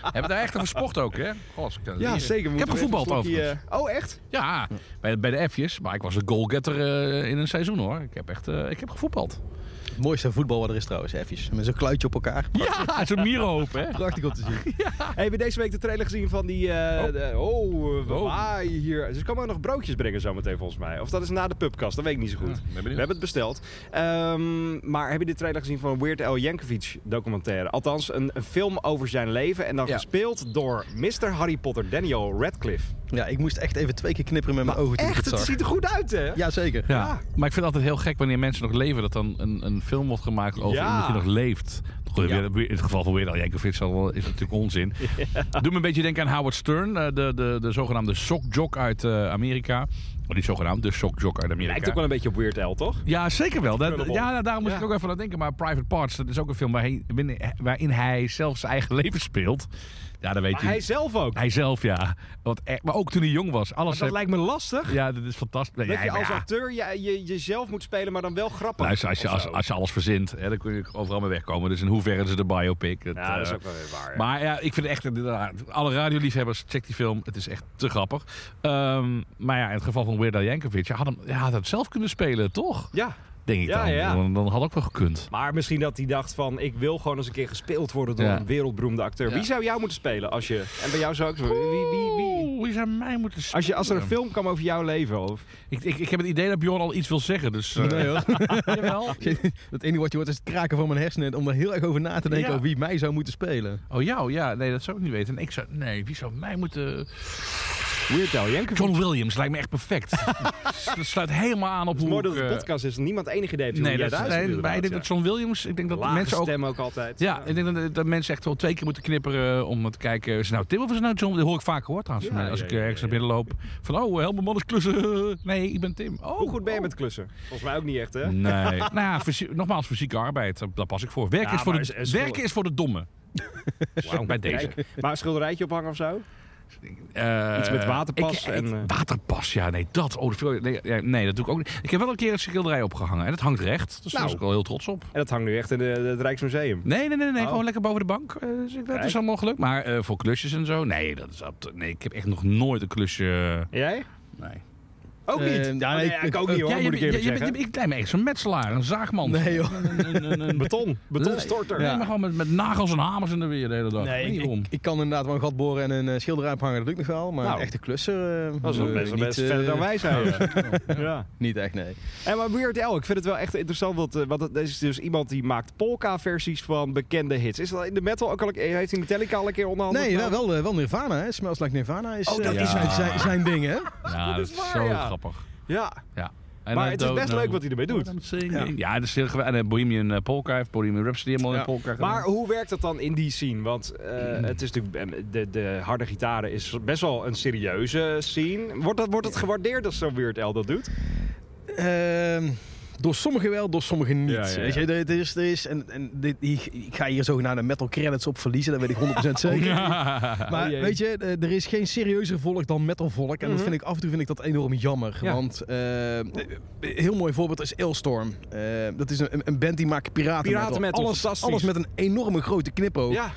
[SPEAKER 2] Hebben daar echt over sport ook, hè? Goh, als ik dat leer.
[SPEAKER 3] zeker.
[SPEAKER 2] Ik heb gevoetbald overigens.
[SPEAKER 3] oh, echt?
[SPEAKER 2] Ja, bij, bij de F'jes. Maar ik was een goalgetter eh, in een seizoen hoor. Ik heb echt eh, ik heb gevoetbald.
[SPEAKER 4] Het mooiste aan voetbal wat er is trouwens, even. Met zo'n kluitje op elkaar.
[SPEAKER 2] Ja, zo'n mierenhoop hè.
[SPEAKER 4] Prachtig om te zien.
[SPEAKER 3] Hebben we deze week de trailer gezien van die... eh,
[SPEAKER 2] Oh.
[SPEAKER 3] de- oh, eh, we
[SPEAKER 2] Oh.
[SPEAKER 3] waaien hier. Ze komen ook nog broodjes brengen zometeen volgens mij. Of dat is na de pubkast, dat weet ik niet zo goed.
[SPEAKER 2] Ja, ben benieuwd.
[SPEAKER 3] we hebben het besteld. Ehm, maar heb je de trailer gezien van Weird Al Yankovic documentaire? Althans, een, een film over zijn leven. En dan
[SPEAKER 2] Ja.
[SPEAKER 3] gespeeld door Mr. Harry Potter Daniel Radcliffe.
[SPEAKER 4] Ja, ik moest echt even twee keer knipperen met mijn ogen toen ik
[SPEAKER 3] Echt,
[SPEAKER 4] het
[SPEAKER 3] het
[SPEAKER 4] zag.
[SPEAKER 3] ziet er goed uit hè?
[SPEAKER 4] Ja, zeker.
[SPEAKER 2] Ja. Maar ik vind het altijd heel gek wanneer mensen nog leven. Dat dan een, een film wordt gemaakt over
[SPEAKER 3] Ja.
[SPEAKER 2] iemand die nog leeft. Goed,
[SPEAKER 3] Ja.
[SPEAKER 2] weer- weer- in het geval van Weird Al Yankovic zal wel- is natuurlijk onzin. Doe me een beetje denken aan Howard Stern. eh, De, de, de zogenaamde shockjock uit eh, Amerika. Oh, niet zogenaamd, de shockjock uit Amerika.
[SPEAKER 3] Lijkt ook wel een beetje op Weird Al, toch?
[SPEAKER 2] Ja, zeker wel. Dat,
[SPEAKER 3] Incredible.
[SPEAKER 2] ja, nou, daarom moest
[SPEAKER 3] Ja.
[SPEAKER 2] ik ook even aan denken. Maar Private Parts, dat is ook een film waarin, waarin- waarin hij zelf zijn eigen leven speelt. Ja, dat weet
[SPEAKER 3] Maar
[SPEAKER 2] je.
[SPEAKER 3] hij zelf ook.
[SPEAKER 2] Hij zelf, ja. Want, echt- maar ook toen hij jong was. Alles
[SPEAKER 3] Maar dat lijkt
[SPEAKER 2] heeft-
[SPEAKER 3] me lastig.
[SPEAKER 2] Ja, dat is fantastisch. Nee,
[SPEAKER 3] Dat je
[SPEAKER 2] ja, maar
[SPEAKER 3] als
[SPEAKER 2] ja.
[SPEAKER 3] acteur je, je, jezelf moet spelen, maar dan wel grappig.
[SPEAKER 2] Luister, als je,
[SPEAKER 3] Of
[SPEAKER 2] als,
[SPEAKER 3] zo.
[SPEAKER 2] als je alles verzint, hè, dan kun je overal mee wegkomen. Dus in hoeverre is het een biopic? Het,
[SPEAKER 3] Ja, dat is
[SPEAKER 2] eh,
[SPEAKER 3] ook wel weer waar. ja.
[SPEAKER 2] Maar ja, ik vind het echt, inderdaad, alle radioliefhebbers, check die film. Het is echt te grappig. Ehm, maar ja, in het geval van Weird Al Yankovic, je had hem je had het zelf kunnen spelen, toch?
[SPEAKER 3] Ja,
[SPEAKER 2] Denk ik
[SPEAKER 3] Ja,
[SPEAKER 2] dan.
[SPEAKER 3] ja.
[SPEAKER 2] dan. Dan had ook wel gekund.
[SPEAKER 3] maar misschien dat hij dacht van, ik wil gewoon eens een keer gespeeld worden door
[SPEAKER 2] Ja.
[SPEAKER 3] een wereldberoemde acteur.
[SPEAKER 2] Ja.
[SPEAKER 3] Wie zou jou moeten spelen als je, en bij jou zou ook, wie, wie, wie?
[SPEAKER 2] Oeh, wie zou mij moeten
[SPEAKER 3] Als, je, als er een
[SPEAKER 2] spelen?
[SPEAKER 3] film kwam over jouw leven, of?
[SPEAKER 2] Ik, ik, ik heb het idee dat Bjorn al iets wil zeggen, dus... eh,
[SPEAKER 4] Nee, hoor.
[SPEAKER 2] jawel.
[SPEAKER 4] Het enige wat je hoort is het kraken van mijn hersenen om er heel erg over na te denken
[SPEAKER 2] Ja.
[SPEAKER 4] over wie mij zou moeten spelen.
[SPEAKER 2] Oh, jou? Ja, nee, dat zou ik niet weten. En ik zou... Nee, wie zou mij moeten...
[SPEAKER 3] Weird Al Yankovic.
[SPEAKER 2] John Williams lijkt me echt perfect. dat sluit helemaal aan op
[SPEAKER 3] Het is
[SPEAKER 2] hoe
[SPEAKER 3] mooi
[SPEAKER 2] ik,
[SPEAKER 3] dat het
[SPEAKER 2] eh,
[SPEAKER 3] podcast is en niemand enig idee heeft hoe
[SPEAKER 2] Nee,
[SPEAKER 3] jij
[SPEAKER 2] dat
[SPEAKER 3] daar
[SPEAKER 2] is,
[SPEAKER 3] zit
[SPEAKER 2] nee,
[SPEAKER 3] inderdaad,
[SPEAKER 2] wij denken
[SPEAKER 3] ja.
[SPEAKER 2] dat John Williams... Ik denk dat
[SPEAKER 3] Lage
[SPEAKER 2] mensen ook...
[SPEAKER 3] stem ook altijd.
[SPEAKER 2] Ja, ik denk dat, dat mensen echt wel twee keer moeten knipperen eh, om te kijken... Is het nou Tim of is het nou John? Dat hoor ik vaak hoor trouwens.
[SPEAKER 3] Ja,
[SPEAKER 2] Maar als
[SPEAKER 3] ja,
[SPEAKER 2] ik eh,
[SPEAKER 3] ja,
[SPEAKER 2] ergens
[SPEAKER 3] ja,
[SPEAKER 2] naar binnen loop. Van, oh, helemaal man is klussen. Nee, ik ben Tim. Oh,
[SPEAKER 3] Hoe goed ben je
[SPEAKER 2] oh.
[SPEAKER 3] met klussen? Volgens mij ook niet echt, hè?
[SPEAKER 2] Nee. nou ja, fysi- nogmaals, fysieke arbeid, eh, daar- daar pas ik voor. Werken,
[SPEAKER 3] Ja,
[SPEAKER 2] is, voor
[SPEAKER 3] maar
[SPEAKER 2] de,
[SPEAKER 3] is- is-
[SPEAKER 2] werken is voor de domme.
[SPEAKER 3] Wauw.
[SPEAKER 2] Bij deze.
[SPEAKER 3] Kijk, Maar een schilderijtje ophangen of zo?
[SPEAKER 2] Eh,
[SPEAKER 3] Iets met waterpas
[SPEAKER 2] ik-
[SPEAKER 3] en,
[SPEAKER 2] ik-
[SPEAKER 3] eh.
[SPEAKER 2] waterpas, ja, nee, dat. Oh, dat viel- nee, ja, nee, dat doe ik ook niet. Ik heb wel een keer een schilderij opgehangen en het hangt recht. Dus daar
[SPEAKER 3] Nou.
[SPEAKER 2] was ik wel heel trots op.
[SPEAKER 3] En dat hangt nu echt in de, het Rijksmuseum.
[SPEAKER 2] Nee, nee, nee, nee
[SPEAKER 3] Oh.
[SPEAKER 2] gewoon lekker boven de bank. Eh, dus ik- dat
[SPEAKER 3] Kijk.
[SPEAKER 2] is allemaal gelukt. Maar eh, voor klusjes en zo, nee, dat is, ab- nee, ik heb echt nog nooit een klusje. eh,
[SPEAKER 3] Jij?
[SPEAKER 2] Nee.
[SPEAKER 3] Ook
[SPEAKER 4] Eh,
[SPEAKER 3] niet?
[SPEAKER 4] ja,
[SPEAKER 3] Oh,
[SPEAKER 4] nee,
[SPEAKER 3] nee,
[SPEAKER 4] ik-
[SPEAKER 3] ik ook niet hoor,
[SPEAKER 2] Ja, je
[SPEAKER 3] moet ik eerlijk
[SPEAKER 2] bent- je bent-
[SPEAKER 3] zeggen.
[SPEAKER 2] je bent- ik lijkt me echt zo'n metselaar, een zaagman.
[SPEAKER 4] Nee, joh.
[SPEAKER 2] Een- een- een- een-
[SPEAKER 3] Beton. Betonstorter.
[SPEAKER 2] Nee, maar gewoon met, met nagels en hamers in de weer de hele dag. Nee,
[SPEAKER 4] ik, ik, ik kan inderdaad wel een gat boren en een eh, schilderij ophangen, dat lukt nog wel. Maar
[SPEAKER 3] Nou,
[SPEAKER 4] een echte klusser... eh,
[SPEAKER 3] Dat is nog
[SPEAKER 4] eh,
[SPEAKER 3] best,
[SPEAKER 4] niet,
[SPEAKER 3] best
[SPEAKER 4] eh,
[SPEAKER 3] verder dan wij zijn. Ja.
[SPEAKER 4] Niet echt, nee.
[SPEAKER 3] En maar Weird Al, ik vind het wel echt interessant, want, eh, want het is dus iemand die maakt polka-versies van bekende hits. Is dat in de metal ook al, heeft hij Metallica al een keer onderhandeld? Nou,
[SPEAKER 4] Nee, wel,
[SPEAKER 3] gedaan?
[SPEAKER 4] wel, eh, wel Nirvana, hè. Smells Like Nirvana is,
[SPEAKER 3] Oh,
[SPEAKER 4] eh,
[SPEAKER 3] dat
[SPEAKER 2] is
[SPEAKER 4] zijn,
[SPEAKER 2] waar.
[SPEAKER 4] zijn, zijn ding, hè.
[SPEAKER 2] Ja,
[SPEAKER 3] Dat
[SPEAKER 2] dat
[SPEAKER 3] is
[SPEAKER 2] is
[SPEAKER 3] waar,
[SPEAKER 2] zo
[SPEAKER 3] ja.
[SPEAKER 2] grappig.
[SPEAKER 3] Ja,
[SPEAKER 2] Ja. En nou.
[SPEAKER 3] maar
[SPEAKER 2] I
[SPEAKER 3] het is
[SPEAKER 2] don't
[SPEAKER 3] best
[SPEAKER 2] know
[SPEAKER 3] leuk wat hij ermee doet.
[SPEAKER 2] what I'm singing. Ja, het is heel geweldig. En eh, Bohemian eh, Polka heeft Bohemian Rhapsody helemaal
[SPEAKER 4] Ja.
[SPEAKER 2] in Polka gedaan.
[SPEAKER 3] Maar hoe werkt dat dan in die scene? Want eh, het is natuurlijk, eh, de, de harde gitaren is best wel een serieuze scene. Wordt dat, wordt het gewaardeerd als zo'n Weird Al dat doet?
[SPEAKER 4] Ehm, Door sommigen wel, door sommigen niet.
[SPEAKER 2] Ja, ja, ja.
[SPEAKER 4] Weet je, er, er is, er is, en, en dit, die- ik ga hier zogenaamde metal credits op verliezen, dat weet ik 100% zeker. Maar
[SPEAKER 3] Oh jee.
[SPEAKER 4] weet je, eh, er is geen serieuzer volk dan metalvolk. En dat
[SPEAKER 3] Mhm.
[SPEAKER 4] vind ik af en toe vind ik dat enorm jammer.
[SPEAKER 2] Ja.
[SPEAKER 4] Want eh, een heel mooi voorbeeld is Ailstorm. Eh, dat is een, een band die maakt piraten
[SPEAKER 3] Piratenmetal,
[SPEAKER 4] Alles,
[SPEAKER 3] fantastisch.
[SPEAKER 4] alles met een enorme grote knipoog.
[SPEAKER 3] Ja,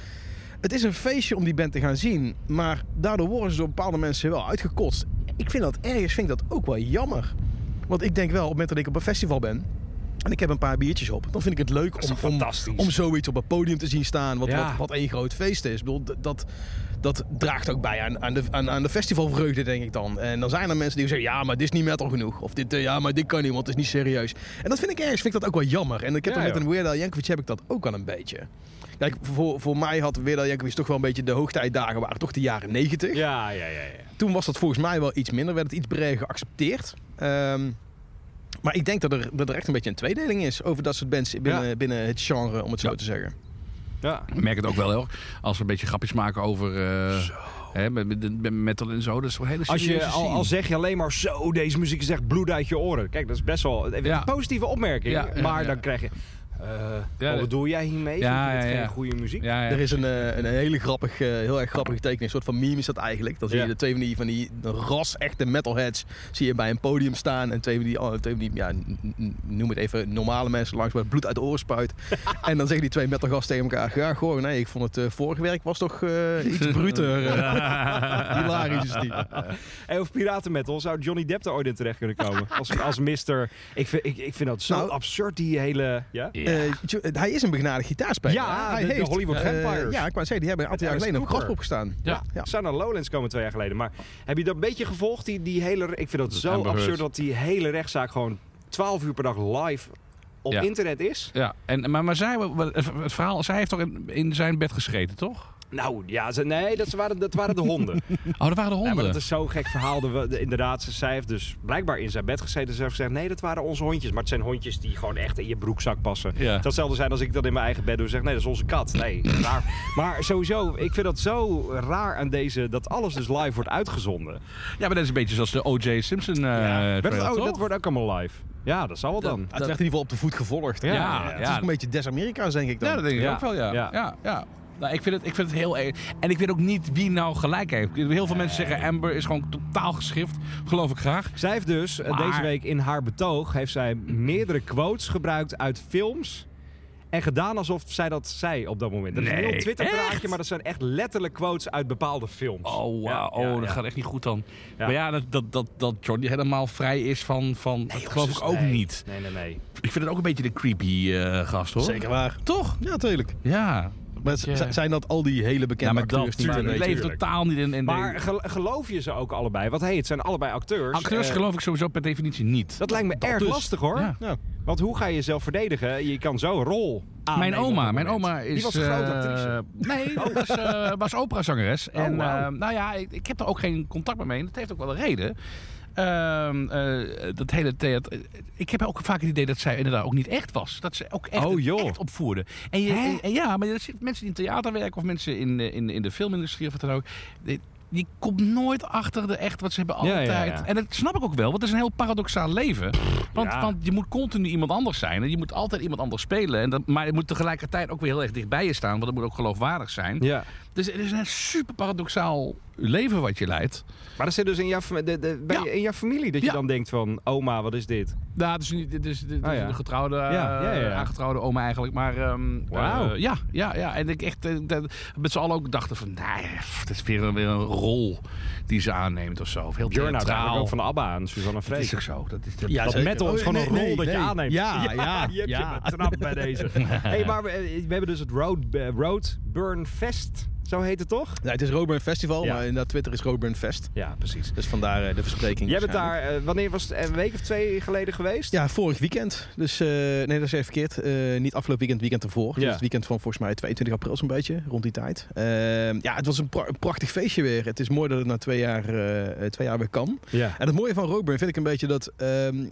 [SPEAKER 4] Het is een feestje om die band te gaan zien. Maar daardoor worden ze door bepaalde mensen wel uitgekotst. Ik vind dat ergens vind ik dat ook wel jammer. Want ik denk wel, op het moment dat ik op een festival ben... en ik heb een paar biertjes op... dan vind ik het leuk
[SPEAKER 3] is
[SPEAKER 4] om,
[SPEAKER 3] toch
[SPEAKER 4] om,
[SPEAKER 3] fantastisch?
[SPEAKER 4] om zoiets op een podium te zien staan... wat,
[SPEAKER 3] Ja.
[SPEAKER 4] wat, wat één groot feest is. Ik bedoel, d- dat, dat draagt ook bij aan, aan, de, aan, aan de festivalvreugde, denk ik dan. En dan zijn er mensen die zeggen... ja, maar dit is niet metal genoeg. Of dit, eh, ja, maar dit kan niet, want het is niet serieus. En dat vind ik ergens vind ik dat ook wel jammer. En ik heb
[SPEAKER 3] Ja,
[SPEAKER 4] dat met
[SPEAKER 3] ja.
[SPEAKER 4] een Weird Al Yankovic heb ik dat ook wel een beetje. Kijk, voor, voor mij had Weird Al Yankovic toch wel een beetje de hoogtijdagen waren toch de jaren 90.
[SPEAKER 3] ja, ja, ja. ja.
[SPEAKER 4] Toen was dat volgens mij wel iets minder, werd het iets breder geaccepteerd. Ehm, maar ik denk dat er, dat er echt een beetje een tweedeling is over dat soort bands binnen, binnen het genre, om het zo
[SPEAKER 2] Ja.
[SPEAKER 4] te zeggen.
[SPEAKER 3] ja.
[SPEAKER 2] Ik merk het ook wel heel erg. Als we een beetje grapjes maken over eh, hè, met, met, met metal en zo. Dat is wel een hele
[SPEAKER 3] Als je,
[SPEAKER 2] serieuze
[SPEAKER 3] al,
[SPEAKER 2] scene.
[SPEAKER 3] al zeg je alleen maar zo, deze muziek is echt bloed uit je oren. Kijk, dat is best wel even
[SPEAKER 2] Ja.
[SPEAKER 3] een positieve opmerking.
[SPEAKER 2] Ja, ja,
[SPEAKER 3] maar
[SPEAKER 2] ja.
[SPEAKER 3] dan krijg je... eh,
[SPEAKER 2] Ja,
[SPEAKER 3] wat
[SPEAKER 2] dat-
[SPEAKER 3] bedoel jij hiermee?
[SPEAKER 2] Ja,
[SPEAKER 3] Vind je dit
[SPEAKER 2] ja, ja.
[SPEAKER 3] geen goede muziek?
[SPEAKER 2] Ja, ja.
[SPEAKER 4] Er is een, eh, een hele grappig, eh, heel erg grappige tekening. Een soort van meme is dat eigenlijk. Dan zie je
[SPEAKER 3] Ja.
[SPEAKER 4] de twee van die, van die ras echte metalheads zie je bij een podium staan. En twee van die, oh, twee van die ja, n- n- noem het even, normale mensen langs waar het bloed uit de oren spuit. en dan zeggen die twee metalgasten tegen elkaar. Ja, goh, nee, ik vond het eh, vorige werk was toch eh, iets bruter. Hilarisch is die.
[SPEAKER 3] En of piratenmetal, zou Johnny Depp er ooit in terecht kunnen komen? als, als mister... Ik vind, ik, ik vind dat zo
[SPEAKER 4] Nou-
[SPEAKER 3] absurd, die hele... Ja?
[SPEAKER 2] Ja.
[SPEAKER 4] Eh, Jo- hij is een begnadigd gitaarspeler.
[SPEAKER 3] Ja,
[SPEAKER 4] hij
[SPEAKER 3] de- de Hollywood
[SPEAKER 4] eh,
[SPEAKER 3] Vampires.
[SPEAKER 4] ja, ik wou zeggen, die hebben een aantal
[SPEAKER 3] Met
[SPEAKER 4] jaar
[SPEAKER 3] Alice
[SPEAKER 4] geleden op
[SPEAKER 3] Cooper.
[SPEAKER 4] Graspop gestaan.
[SPEAKER 2] Ja.
[SPEAKER 4] ja.
[SPEAKER 3] Zou naar Lowlands komen twee jaar geleden. Maar heb je dat een beetje gevolgd? Die, die hele, ik vind dat,
[SPEAKER 2] is
[SPEAKER 3] zo
[SPEAKER 2] Amber Heard.
[SPEAKER 3] absurd dat die hele rechtszaak gewoon 12 uur per dag live op
[SPEAKER 2] Ja.
[SPEAKER 3] internet is.
[SPEAKER 2] Ja, en, maar, maar zij, het verhaal, zij heeft toch in, in zijn bed gescheten, toch?
[SPEAKER 3] Nou ja, ze, nee, dat waren, dat waren de honden.
[SPEAKER 2] Oh, dat waren de
[SPEAKER 3] Ja,
[SPEAKER 2] honden.
[SPEAKER 3] maar dat is zo'n gek verhaal. De, de- inderdaad, ze- zij heeft dus blijkbaar in zijn bed gezeten. Ze heeft gezegd, nee, dat waren onze hondjes. Maar het zijn hondjes die gewoon echt in je broekzak passen.
[SPEAKER 2] Ja.
[SPEAKER 3] Het zou hetzelfde zijn als ik dat in mijn eigen bed doe. en Zeg, nee, dat is onze kat. Nee, raar. Maar sowieso, ik vind dat zo raar aan deze... dat alles dus live wordt uitgezonden.
[SPEAKER 2] is een beetje zoals de O.J. Simpson eh
[SPEAKER 3] Werd het
[SPEAKER 2] trailer,
[SPEAKER 3] ook-
[SPEAKER 2] toch?
[SPEAKER 3] dat wordt ook allemaal live. Ja, dat zal wel dan.
[SPEAKER 4] Het werd in ieder geval op de voet gevolgd.
[SPEAKER 3] Ja,
[SPEAKER 2] ja,
[SPEAKER 4] Het is ook een beetje des-Amerika's, denk ik dan.
[SPEAKER 2] Ja, dat denk ik
[SPEAKER 3] Ja.
[SPEAKER 2] ook wel, ja. ja.
[SPEAKER 3] Ja.
[SPEAKER 2] ja, Nou, ik, vind het, ik vind het heel erg. En ik weet ook niet wie nou gelijk heeft. Heel veel mensen zeggen Amber is gewoon totaal geschift. Geloof ik graag.
[SPEAKER 3] Zij heeft dus eh,
[SPEAKER 2] Maar-
[SPEAKER 3] deze week in haar betoog... heeft zij meerdere quotes gebruikt uit films... En gedaan alsof zij dat zei op dat moment. Dat is
[SPEAKER 2] Nee,
[SPEAKER 3] een heel
[SPEAKER 2] echt?
[SPEAKER 3] Twitter-draadje, maar dat zijn echt letterlijk quotes uit bepaalde films.
[SPEAKER 2] Oh, wow.
[SPEAKER 3] Ja,
[SPEAKER 2] oh,
[SPEAKER 3] ja,
[SPEAKER 2] dat
[SPEAKER 3] ja.
[SPEAKER 2] gaat echt niet goed dan.
[SPEAKER 3] Ja.
[SPEAKER 2] Maar ja, dat, dat, dat, dat Johnny helemaal vrij is van... van dat geloof ik ook
[SPEAKER 3] Nee.
[SPEAKER 2] niet.
[SPEAKER 3] Nee, nee, nee.
[SPEAKER 2] Ik vind het ook een beetje de creepy eh, gast, hoor.
[SPEAKER 4] Zeker waar. Toch? Ja, natuurlijk.
[SPEAKER 2] Ja.
[SPEAKER 4] Maar
[SPEAKER 2] Beetje-
[SPEAKER 4] z- zijn dat al die hele bekende
[SPEAKER 2] Ja, maar
[SPEAKER 4] acteurs
[SPEAKER 2] dat,
[SPEAKER 4] die
[SPEAKER 2] maar
[SPEAKER 4] een
[SPEAKER 2] het
[SPEAKER 4] beetje-
[SPEAKER 2] leeft totaal niet in... in
[SPEAKER 3] Maar
[SPEAKER 2] de...
[SPEAKER 3] gel- geloof je ze ook allebei? Want hey, het zijn allebei acteurs.
[SPEAKER 2] Acteurs
[SPEAKER 3] Eh,
[SPEAKER 2] geloof ik sowieso per definitie niet.
[SPEAKER 3] dat lijkt me erg
[SPEAKER 4] dus.
[SPEAKER 3] lastig hoor.
[SPEAKER 2] Ja.
[SPEAKER 4] Ja.
[SPEAKER 3] Want hoe ga je jezelf verdedigen? Je kan zo een rol aannemen.
[SPEAKER 2] Mijn oma,
[SPEAKER 3] op
[SPEAKER 2] mijn
[SPEAKER 3] dat moment.
[SPEAKER 2] oma is.
[SPEAKER 3] Die was Ah, een grote
[SPEAKER 2] eh,
[SPEAKER 3] actrice.
[SPEAKER 2] Nee, dat was, eh, was operazangeres.
[SPEAKER 3] Oh,
[SPEAKER 2] en
[SPEAKER 3] wauw.
[SPEAKER 2] eh, nou ja, ik, ik heb daar ook geen contact meer mee. En dat heeft ook wel een reden. Ehm, eh, dat hele theater. Ik heb ook vaak het idee dat zij inderdaad ook niet echt was. Dat ze ook echt,
[SPEAKER 3] Oh, joh.
[SPEAKER 2] echt opvoerde. En je, en- en ja, maar er zitten mensen die in theater werken of mensen in, eh, in, in de filmindustrie of wat dan ook. Die, die komt nooit achter de echt wat ze hebben
[SPEAKER 3] Ja, ja,
[SPEAKER 2] altijd.
[SPEAKER 3] ja.
[SPEAKER 2] En dat snap ik ook wel, want het is een heel paradoxaal leven. Want,
[SPEAKER 3] Ja.
[SPEAKER 2] want je moet continu iemand anders zijn. En je moet altijd iemand anders spelen. En dat, maar je moet tegelijkertijd ook weer heel erg dichtbij je staan. Want het moet ook geloofwaardig zijn.
[SPEAKER 3] Ja.
[SPEAKER 2] Dus het is een super paradoxaal leven wat je leidt.
[SPEAKER 3] Maar dat zit dus in jouw, fam- de, de, bij
[SPEAKER 2] Ja.
[SPEAKER 3] je- in jouw familie dat je
[SPEAKER 2] Ja.
[SPEAKER 3] dan denkt van... Oma, wat is dit?
[SPEAKER 2] Nou, het is, niet, het is, het is
[SPEAKER 3] Ah, ja.
[SPEAKER 2] een getrouwde,
[SPEAKER 3] Ja, ja, ja, ja.
[SPEAKER 2] eh, aangetrouwde oma eigenlijk. Maar ehm,
[SPEAKER 3] Wauw.
[SPEAKER 2] eh, ja, ja, ja. En ik echt eh, dat- met z'n allen ook dachten van... Nee, pff, het is weer een, weer een rol die ze aanneemt of zo. Of heel
[SPEAKER 3] Björn houdt
[SPEAKER 2] theatraal.
[SPEAKER 3] eigenlijk ook van Abba aan, Suzanne
[SPEAKER 2] Dat is
[SPEAKER 3] Freek.
[SPEAKER 2] toch zo? Dat is de,
[SPEAKER 4] Ja,
[SPEAKER 3] dat
[SPEAKER 4] zeker.
[SPEAKER 3] metal is
[SPEAKER 4] Oh,
[SPEAKER 3] gewoon een
[SPEAKER 4] nee,
[SPEAKER 3] rol
[SPEAKER 4] nee,
[SPEAKER 3] dat je
[SPEAKER 4] nee.
[SPEAKER 3] aanneemt.
[SPEAKER 4] Ja, ja,
[SPEAKER 3] je hebt
[SPEAKER 4] ja.
[SPEAKER 3] je betrapt bij deze. hey, maar we, we hebben dus het Road, Road Burn Fest, zo heet het toch?
[SPEAKER 4] Ja, het is Roadburn Festival,
[SPEAKER 3] Ja.
[SPEAKER 4] maar inderdaad Twitter is Roadburn Fest.
[SPEAKER 3] Ja, precies.
[SPEAKER 4] Dus vandaar eh, de verspreking.
[SPEAKER 3] Jij bent
[SPEAKER 4] waarschijnlijk.
[SPEAKER 3] daar, eh, wanneer was het, een week of twee geleden geweest?
[SPEAKER 4] Ja, vorig weekend. Dus eh, nee, dat is even verkeerd. Eh, niet afgelopen weekend, weekend ervoor. Dus
[SPEAKER 3] Ja.
[SPEAKER 4] het weekend van volgens mij 22 april zo'n beetje, rond die tijd. Eh, ja, het was een, pra- een prachtig feestje weer. Het is mooi dat het na twee jaar, eh, eh, twee jaar weer kan.
[SPEAKER 3] Ja.
[SPEAKER 4] En het mooie van Roadburn vind ik een beetje dat... ehm,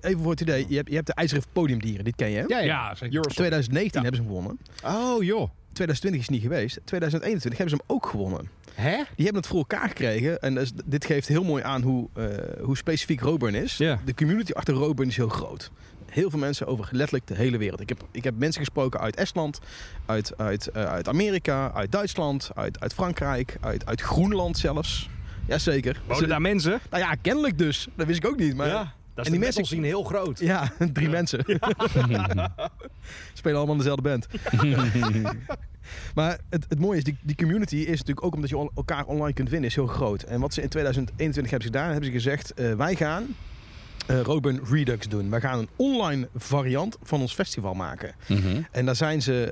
[SPEAKER 4] even voor het idee, je hebt, je hebt de IJzeren Podiumdieren, dit ken je hè?
[SPEAKER 3] Ja,
[SPEAKER 2] Ja, zeker.
[SPEAKER 3] Eurosong.
[SPEAKER 4] 2019 hebben ze hem gewonnen.
[SPEAKER 3] Oh, joh.
[SPEAKER 4] 2020 is niet geweest. 2021 hebben ze hem ook gewonnen.
[SPEAKER 3] Hè?
[SPEAKER 4] Die hebben het voor elkaar gekregen. En dus, dat is- dit geeft heel mooi aan hoe, eh, hoe specifiek Roburn is.
[SPEAKER 3] Ja.
[SPEAKER 4] De community achter Roburn is heel groot. heel veel mensen over letterlijk de hele wereld. Ik heb, ik heb mensen gesproken uit Estland, uit, uit, eh, uit Amerika, uit Duitsland, uit, uit Frankrijk, uit, uit Groenland zelfs. Jazeker. Ze-
[SPEAKER 3] Wonen daar mensen?
[SPEAKER 4] Nou ja, kennelijk dus. Dat wist ik ook niet. Maar ja,
[SPEAKER 3] Dat
[SPEAKER 4] En die mensen-
[SPEAKER 3] zien heel groot.
[SPEAKER 4] drie mensen. Spelen allemaal in dezelfde band. maar het, het mooie is, die, die community is natuurlijk ook omdat je on- elkaar online kunt vinden, is heel groot. En wat ze in 2021 hebben ze gedaan, hebben ze gezegd, eh, wij gaan eh Robin Redux doen. Wij gaan een online variant van ons festival maken.
[SPEAKER 2] Mhm.
[SPEAKER 4] En daar zijn, ze,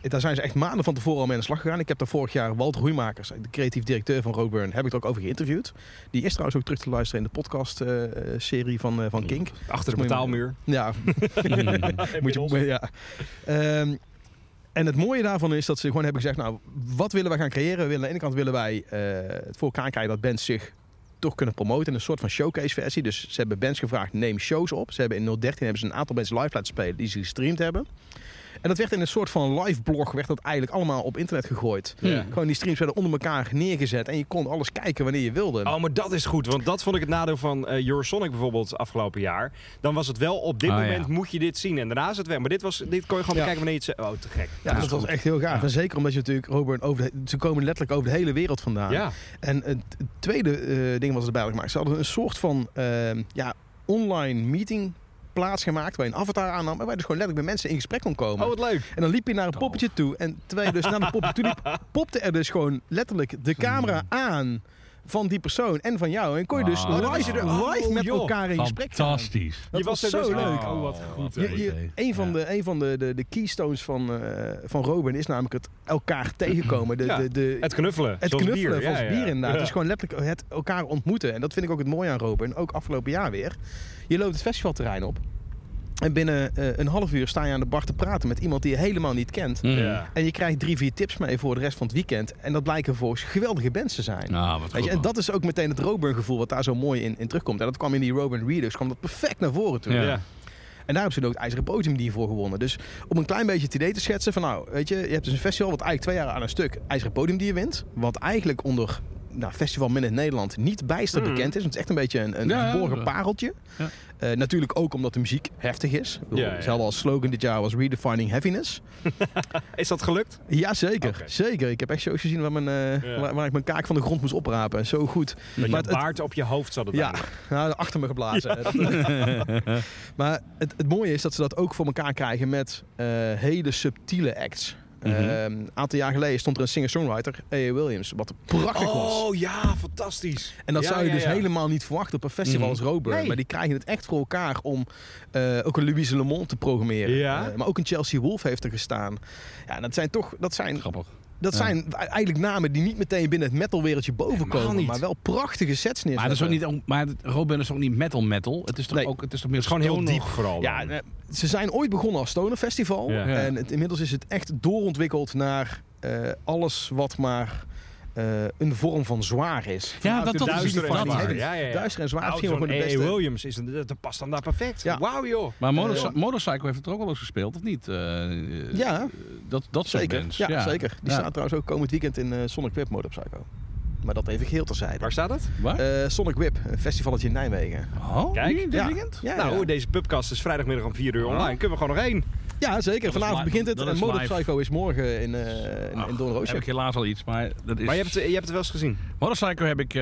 [SPEAKER 4] eh, daar zijn ze echt maanden van tevoren al mee aan de slag gegaan. Ik heb daar vorig jaar Walter Roeimakers, de creatief directeur van Roadburn, heb ik er ook over geïnterviewd. Die is trouwens ook terug te luisteren in de podcast-serie van, eh, van Kink.
[SPEAKER 3] Achter de
[SPEAKER 4] Moet je maar-
[SPEAKER 3] betaalmuur.
[SPEAKER 4] Ja, moet je, ja. Ehm, en het mooie daarvan is dat ze gewoon hebben gezegd, nou, wat willen wij gaan creëren? We willen, aan de ene kant willen wij eh, het voor elkaar krijgen dat bands zich toch kunnen promoten in een soort van showcase versie. Dus ze hebben bands gevraagd, neem shows op. Ze hebben in 013 hebben ze een aantal bands live laten spelen die ze gestreamd hebben. En dat werd in een soort van live blog, werd dat eigenlijk allemaal op internet gegooid.
[SPEAKER 2] Ja.
[SPEAKER 4] Gewoon die streams werden onder elkaar neergezet en je kon alles kijken wanneer je wilde.
[SPEAKER 3] Oh, maar dat is goed. Want dat vond ik het nadeel van eh Eurosonic bijvoorbeeld afgelopen jaar. Dan was het wel op dit
[SPEAKER 2] Ah, ja.
[SPEAKER 3] moment moet je dit zien. En daarna is het weg. Maar dit, was, dit kon je gewoon
[SPEAKER 4] Oh, Ja.
[SPEAKER 3] bekijken wanneer je het... ze- Oh, te gek.
[SPEAKER 4] Ja, dat was echt heel gaaf. En zeker omdat je natuurlijk, Robert, over de- ze komen letterlijk over de hele wereld vandaan.
[SPEAKER 3] Ja.
[SPEAKER 4] En het het tweede eh, ding wat ze erbij hadden gemaakt, ze hadden een soort van ehm, ja, online meeting plaatsgemaakt waar je een avatar aannam en waar je dus gewoon letterlijk met mensen in gesprek kon komen.
[SPEAKER 3] Oh, wat Oh. leuk.
[SPEAKER 4] en dan liep je naar een poppetje toe en terwijl je dus naar de poppetje toe liep, popte er dus gewoon letterlijk de camera aan van die persoon en van jou. En kon je dus
[SPEAKER 2] Ah. Oh, dat
[SPEAKER 4] live,
[SPEAKER 3] was er-
[SPEAKER 4] live
[SPEAKER 3] oh,
[SPEAKER 4] met
[SPEAKER 3] joh.
[SPEAKER 4] elkaar in gesprek gaan.
[SPEAKER 2] Fantastisch.
[SPEAKER 4] Dat
[SPEAKER 3] je
[SPEAKER 4] was,
[SPEAKER 3] was er
[SPEAKER 4] zo
[SPEAKER 3] dus-
[SPEAKER 4] leuk.
[SPEAKER 3] Oh, wat
[SPEAKER 2] goed.
[SPEAKER 4] Je- je- een van, de, een van de, de, de keystones van, eh, van Robin is namelijk het elkaar tegenkomen. De,
[SPEAKER 3] Ja,
[SPEAKER 4] de, de,
[SPEAKER 3] Het knuffelen.
[SPEAKER 4] het
[SPEAKER 3] zoals
[SPEAKER 4] knuffelen
[SPEAKER 3] bier.
[SPEAKER 4] van het
[SPEAKER 3] ja,
[SPEAKER 4] bier
[SPEAKER 3] ja.
[SPEAKER 4] inderdaad.
[SPEAKER 3] Ja.
[SPEAKER 4] Het is gewoon letterlijk het elkaar ontmoeten. En dat vind ik ook het mooie aan Robin. Ook afgelopen jaar weer. Je loopt het festivalterrein op. En binnen eh, een half uur sta je aan de bar te praten met iemand die je helemaal niet kent.
[SPEAKER 3] Ja.
[SPEAKER 4] En je krijgt drie, vier tips mee voor de rest van het weekend. En dat blijken volgens geweldige bands te zijn.
[SPEAKER 2] Nou, wat
[SPEAKER 4] Weet
[SPEAKER 2] goed,
[SPEAKER 4] je, en dat is ook meteen het Robin gevoel wat daar zo mooi in, in terugkomt. En dat kwam in die Robin Readers, kwam dat perfect naar voren toe.
[SPEAKER 2] Ja.
[SPEAKER 3] Ja.
[SPEAKER 4] En daar hebben ze ook het IJzeren Podium die voor gewonnen. Dus om een klein beetje het idee te schetsen van nou, weet je, je hebt dus een festival wat eigenlijk twee jaar aan een stuk IJzeren Podium die je wint. Wat eigenlijk onder nou, Festival Min in Nederland niet bijster
[SPEAKER 3] Hmm.
[SPEAKER 4] bekend is. Want het is echt een beetje een, een
[SPEAKER 2] Ja, ja,
[SPEAKER 4] verborgen
[SPEAKER 2] ja.
[SPEAKER 4] pareltje.
[SPEAKER 2] Ja.
[SPEAKER 4] Eh, natuurlijk ook omdat de muziek heftig is. Ik bedoel,
[SPEAKER 3] Ja, ja.
[SPEAKER 4] Ze hadden als slogan dit jaar was Redefining Heaviness.
[SPEAKER 3] Is dat gelukt?
[SPEAKER 4] Jazeker,
[SPEAKER 3] Oké.
[SPEAKER 4] zeker. Ik heb echt shows gezien waar, mijn, eh,
[SPEAKER 3] Ja.
[SPEAKER 4] waar, waar ik mijn kaak van de grond moest oprapen. En zo goed.
[SPEAKER 3] Dat je
[SPEAKER 4] Maar het-
[SPEAKER 3] baard op je hoofd zat het
[SPEAKER 4] Ja,
[SPEAKER 3] aan.
[SPEAKER 4] nou, achter me geblazen. hè. Dat- maar het, het mooie is dat ze dat ook voor elkaar krijgen met eh, hele subtiele acts. Een
[SPEAKER 2] Mhm.
[SPEAKER 4] aantal jaar geleden stond er een singer-songwriter, A.A. Williams, wat prachtig was.
[SPEAKER 3] Oh ja, fantastisch.
[SPEAKER 4] En dat
[SPEAKER 3] Ja,
[SPEAKER 4] zou je
[SPEAKER 3] ja,
[SPEAKER 4] dus
[SPEAKER 3] ja.
[SPEAKER 4] helemaal niet verwachten op een festival als Roadburn.
[SPEAKER 3] Nee.
[SPEAKER 4] Maar die krijgen het echt voor elkaar om eh, ook een Louise Le Monde te programmeren.
[SPEAKER 3] Ja.
[SPEAKER 4] Eh, maar ook een Chelsea Wolf heeft er gestaan. Ja, en dat zijn toch, dat zijn,
[SPEAKER 2] Grappig.
[SPEAKER 4] dat
[SPEAKER 2] Ja.
[SPEAKER 4] zijn e-, eigenlijk namen die niet meteen binnen het metalwereldje bovenkomen.
[SPEAKER 3] niet.
[SPEAKER 4] maar wel prachtige sets neerzetten.
[SPEAKER 2] Maar, dat is ook niet, maar Robin is ook niet metal metal. Het is toch,
[SPEAKER 4] eh, Nee.
[SPEAKER 2] ook, het is toch meer
[SPEAKER 3] Het is gewoon heel diep
[SPEAKER 2] stoner-
[SPEAKER 3] vooral.
[SPEAKER 4] Ja,
[SPEAKER 3] dan.
[SPEAKER 4] eh, ze zijn ooit begonnen als Stoner Festival.
[SPEAKER 3] Ja.
[SPEAKER 4] En het, inmiddels is het echt doorontwikkeld naar eh, alles wat maar eh, een vorm van zwaar is.
[SPEAKER 2] Ja, dat, dat is dus
[SPEAKER 3] duister en
[SPEAKER 2] dat is
[SPEAKER 3] zwaar.
[SPEAKER 2] het.
[SPEAKER 3] Ja, ja, ja.
[SPEAKER 4] Duister en zwaar is
[SPEAKER 3] Nou,
[SPEAKER 4] misschien wel
[SPEAKER 3] zo'n
[SPEAKER 4] gewoon de
[SPEAKER 3] A.A.
[SPEAKER 4] beste.
[SPEAKER 3] Williams is een, dat past dan daar perfect.
[SPEAKER 4] Ja.
[SPEAKER 3] Wauw joh.
[SPEAKER 2] Maar
[SPEAKER 4] Eh,
[SPEAKER 2] Motorcy-
[SPEAKER 4] ja.
[SPEAKER 2] Motorcycle heeft het er ook wel eens gespeeld, of niet? Eh,
[SPEAKER 4] Ja,
[SPEAKER 2] Dat, dat soort
[SPEAKER 4] zeker.
[SPEAKER 2] bands.
[SPEAKER 4] Ja, zeker. Die
[SPEAKER 2] Ja.
[SPEAKER 4] staat trouwens ook komend weekend in eh, Sonic Whip Motorpsycho. Maar dat even geheel terzijde.
[SPEAKER 3] Waar staat het?
[SPEAKER 2] Waar?
[SPEAKER 4] Eh Sonic Whip, een festivaletje in Nijmegen.
[SPEAKER 2] oh,
[SPEAKER 3] kijk.
[SPEAKER 2] kijk. Dit
[SPEAKER 4] ja.
[SPEAKER 2] weekend?
[SPEAKER 4] Ja,
[SPEAKER 3] nou,
[SPEAKER 4] ja.
[SPEAKER 3] deze pubcast is vrijdagmiddag om 4 uur
[SPEAKER 2] Oh.
[SPEAKER 3] online. Kunnen we gewoon nog
[SPEAKER 2] Dus-
[SPEAKER 3] één.
[SPEAKER 4] ja, zeker.
[SPEAKER 2] is
[SPEAKER 4] Vanavond
[SPEAKER 2] live.
[SPEAKER 4] begint het.
[SPEAKER 2] Dat
[SPEAKER 4] En
[SPEAKER 2] is
[SPEAKER 4] Motorpsycho is morgen in, eh in, in
[SPEAKER 2] Ach,
[SPEAKER 4] Doornroosje.
[SPEAKER 2] heb ik helaas al iets, maar dat is...
[SPEAKER 3] Maar je hebt, je hebt het wel eens gezien.
[SPEAKER 2] Motorcycle heb ik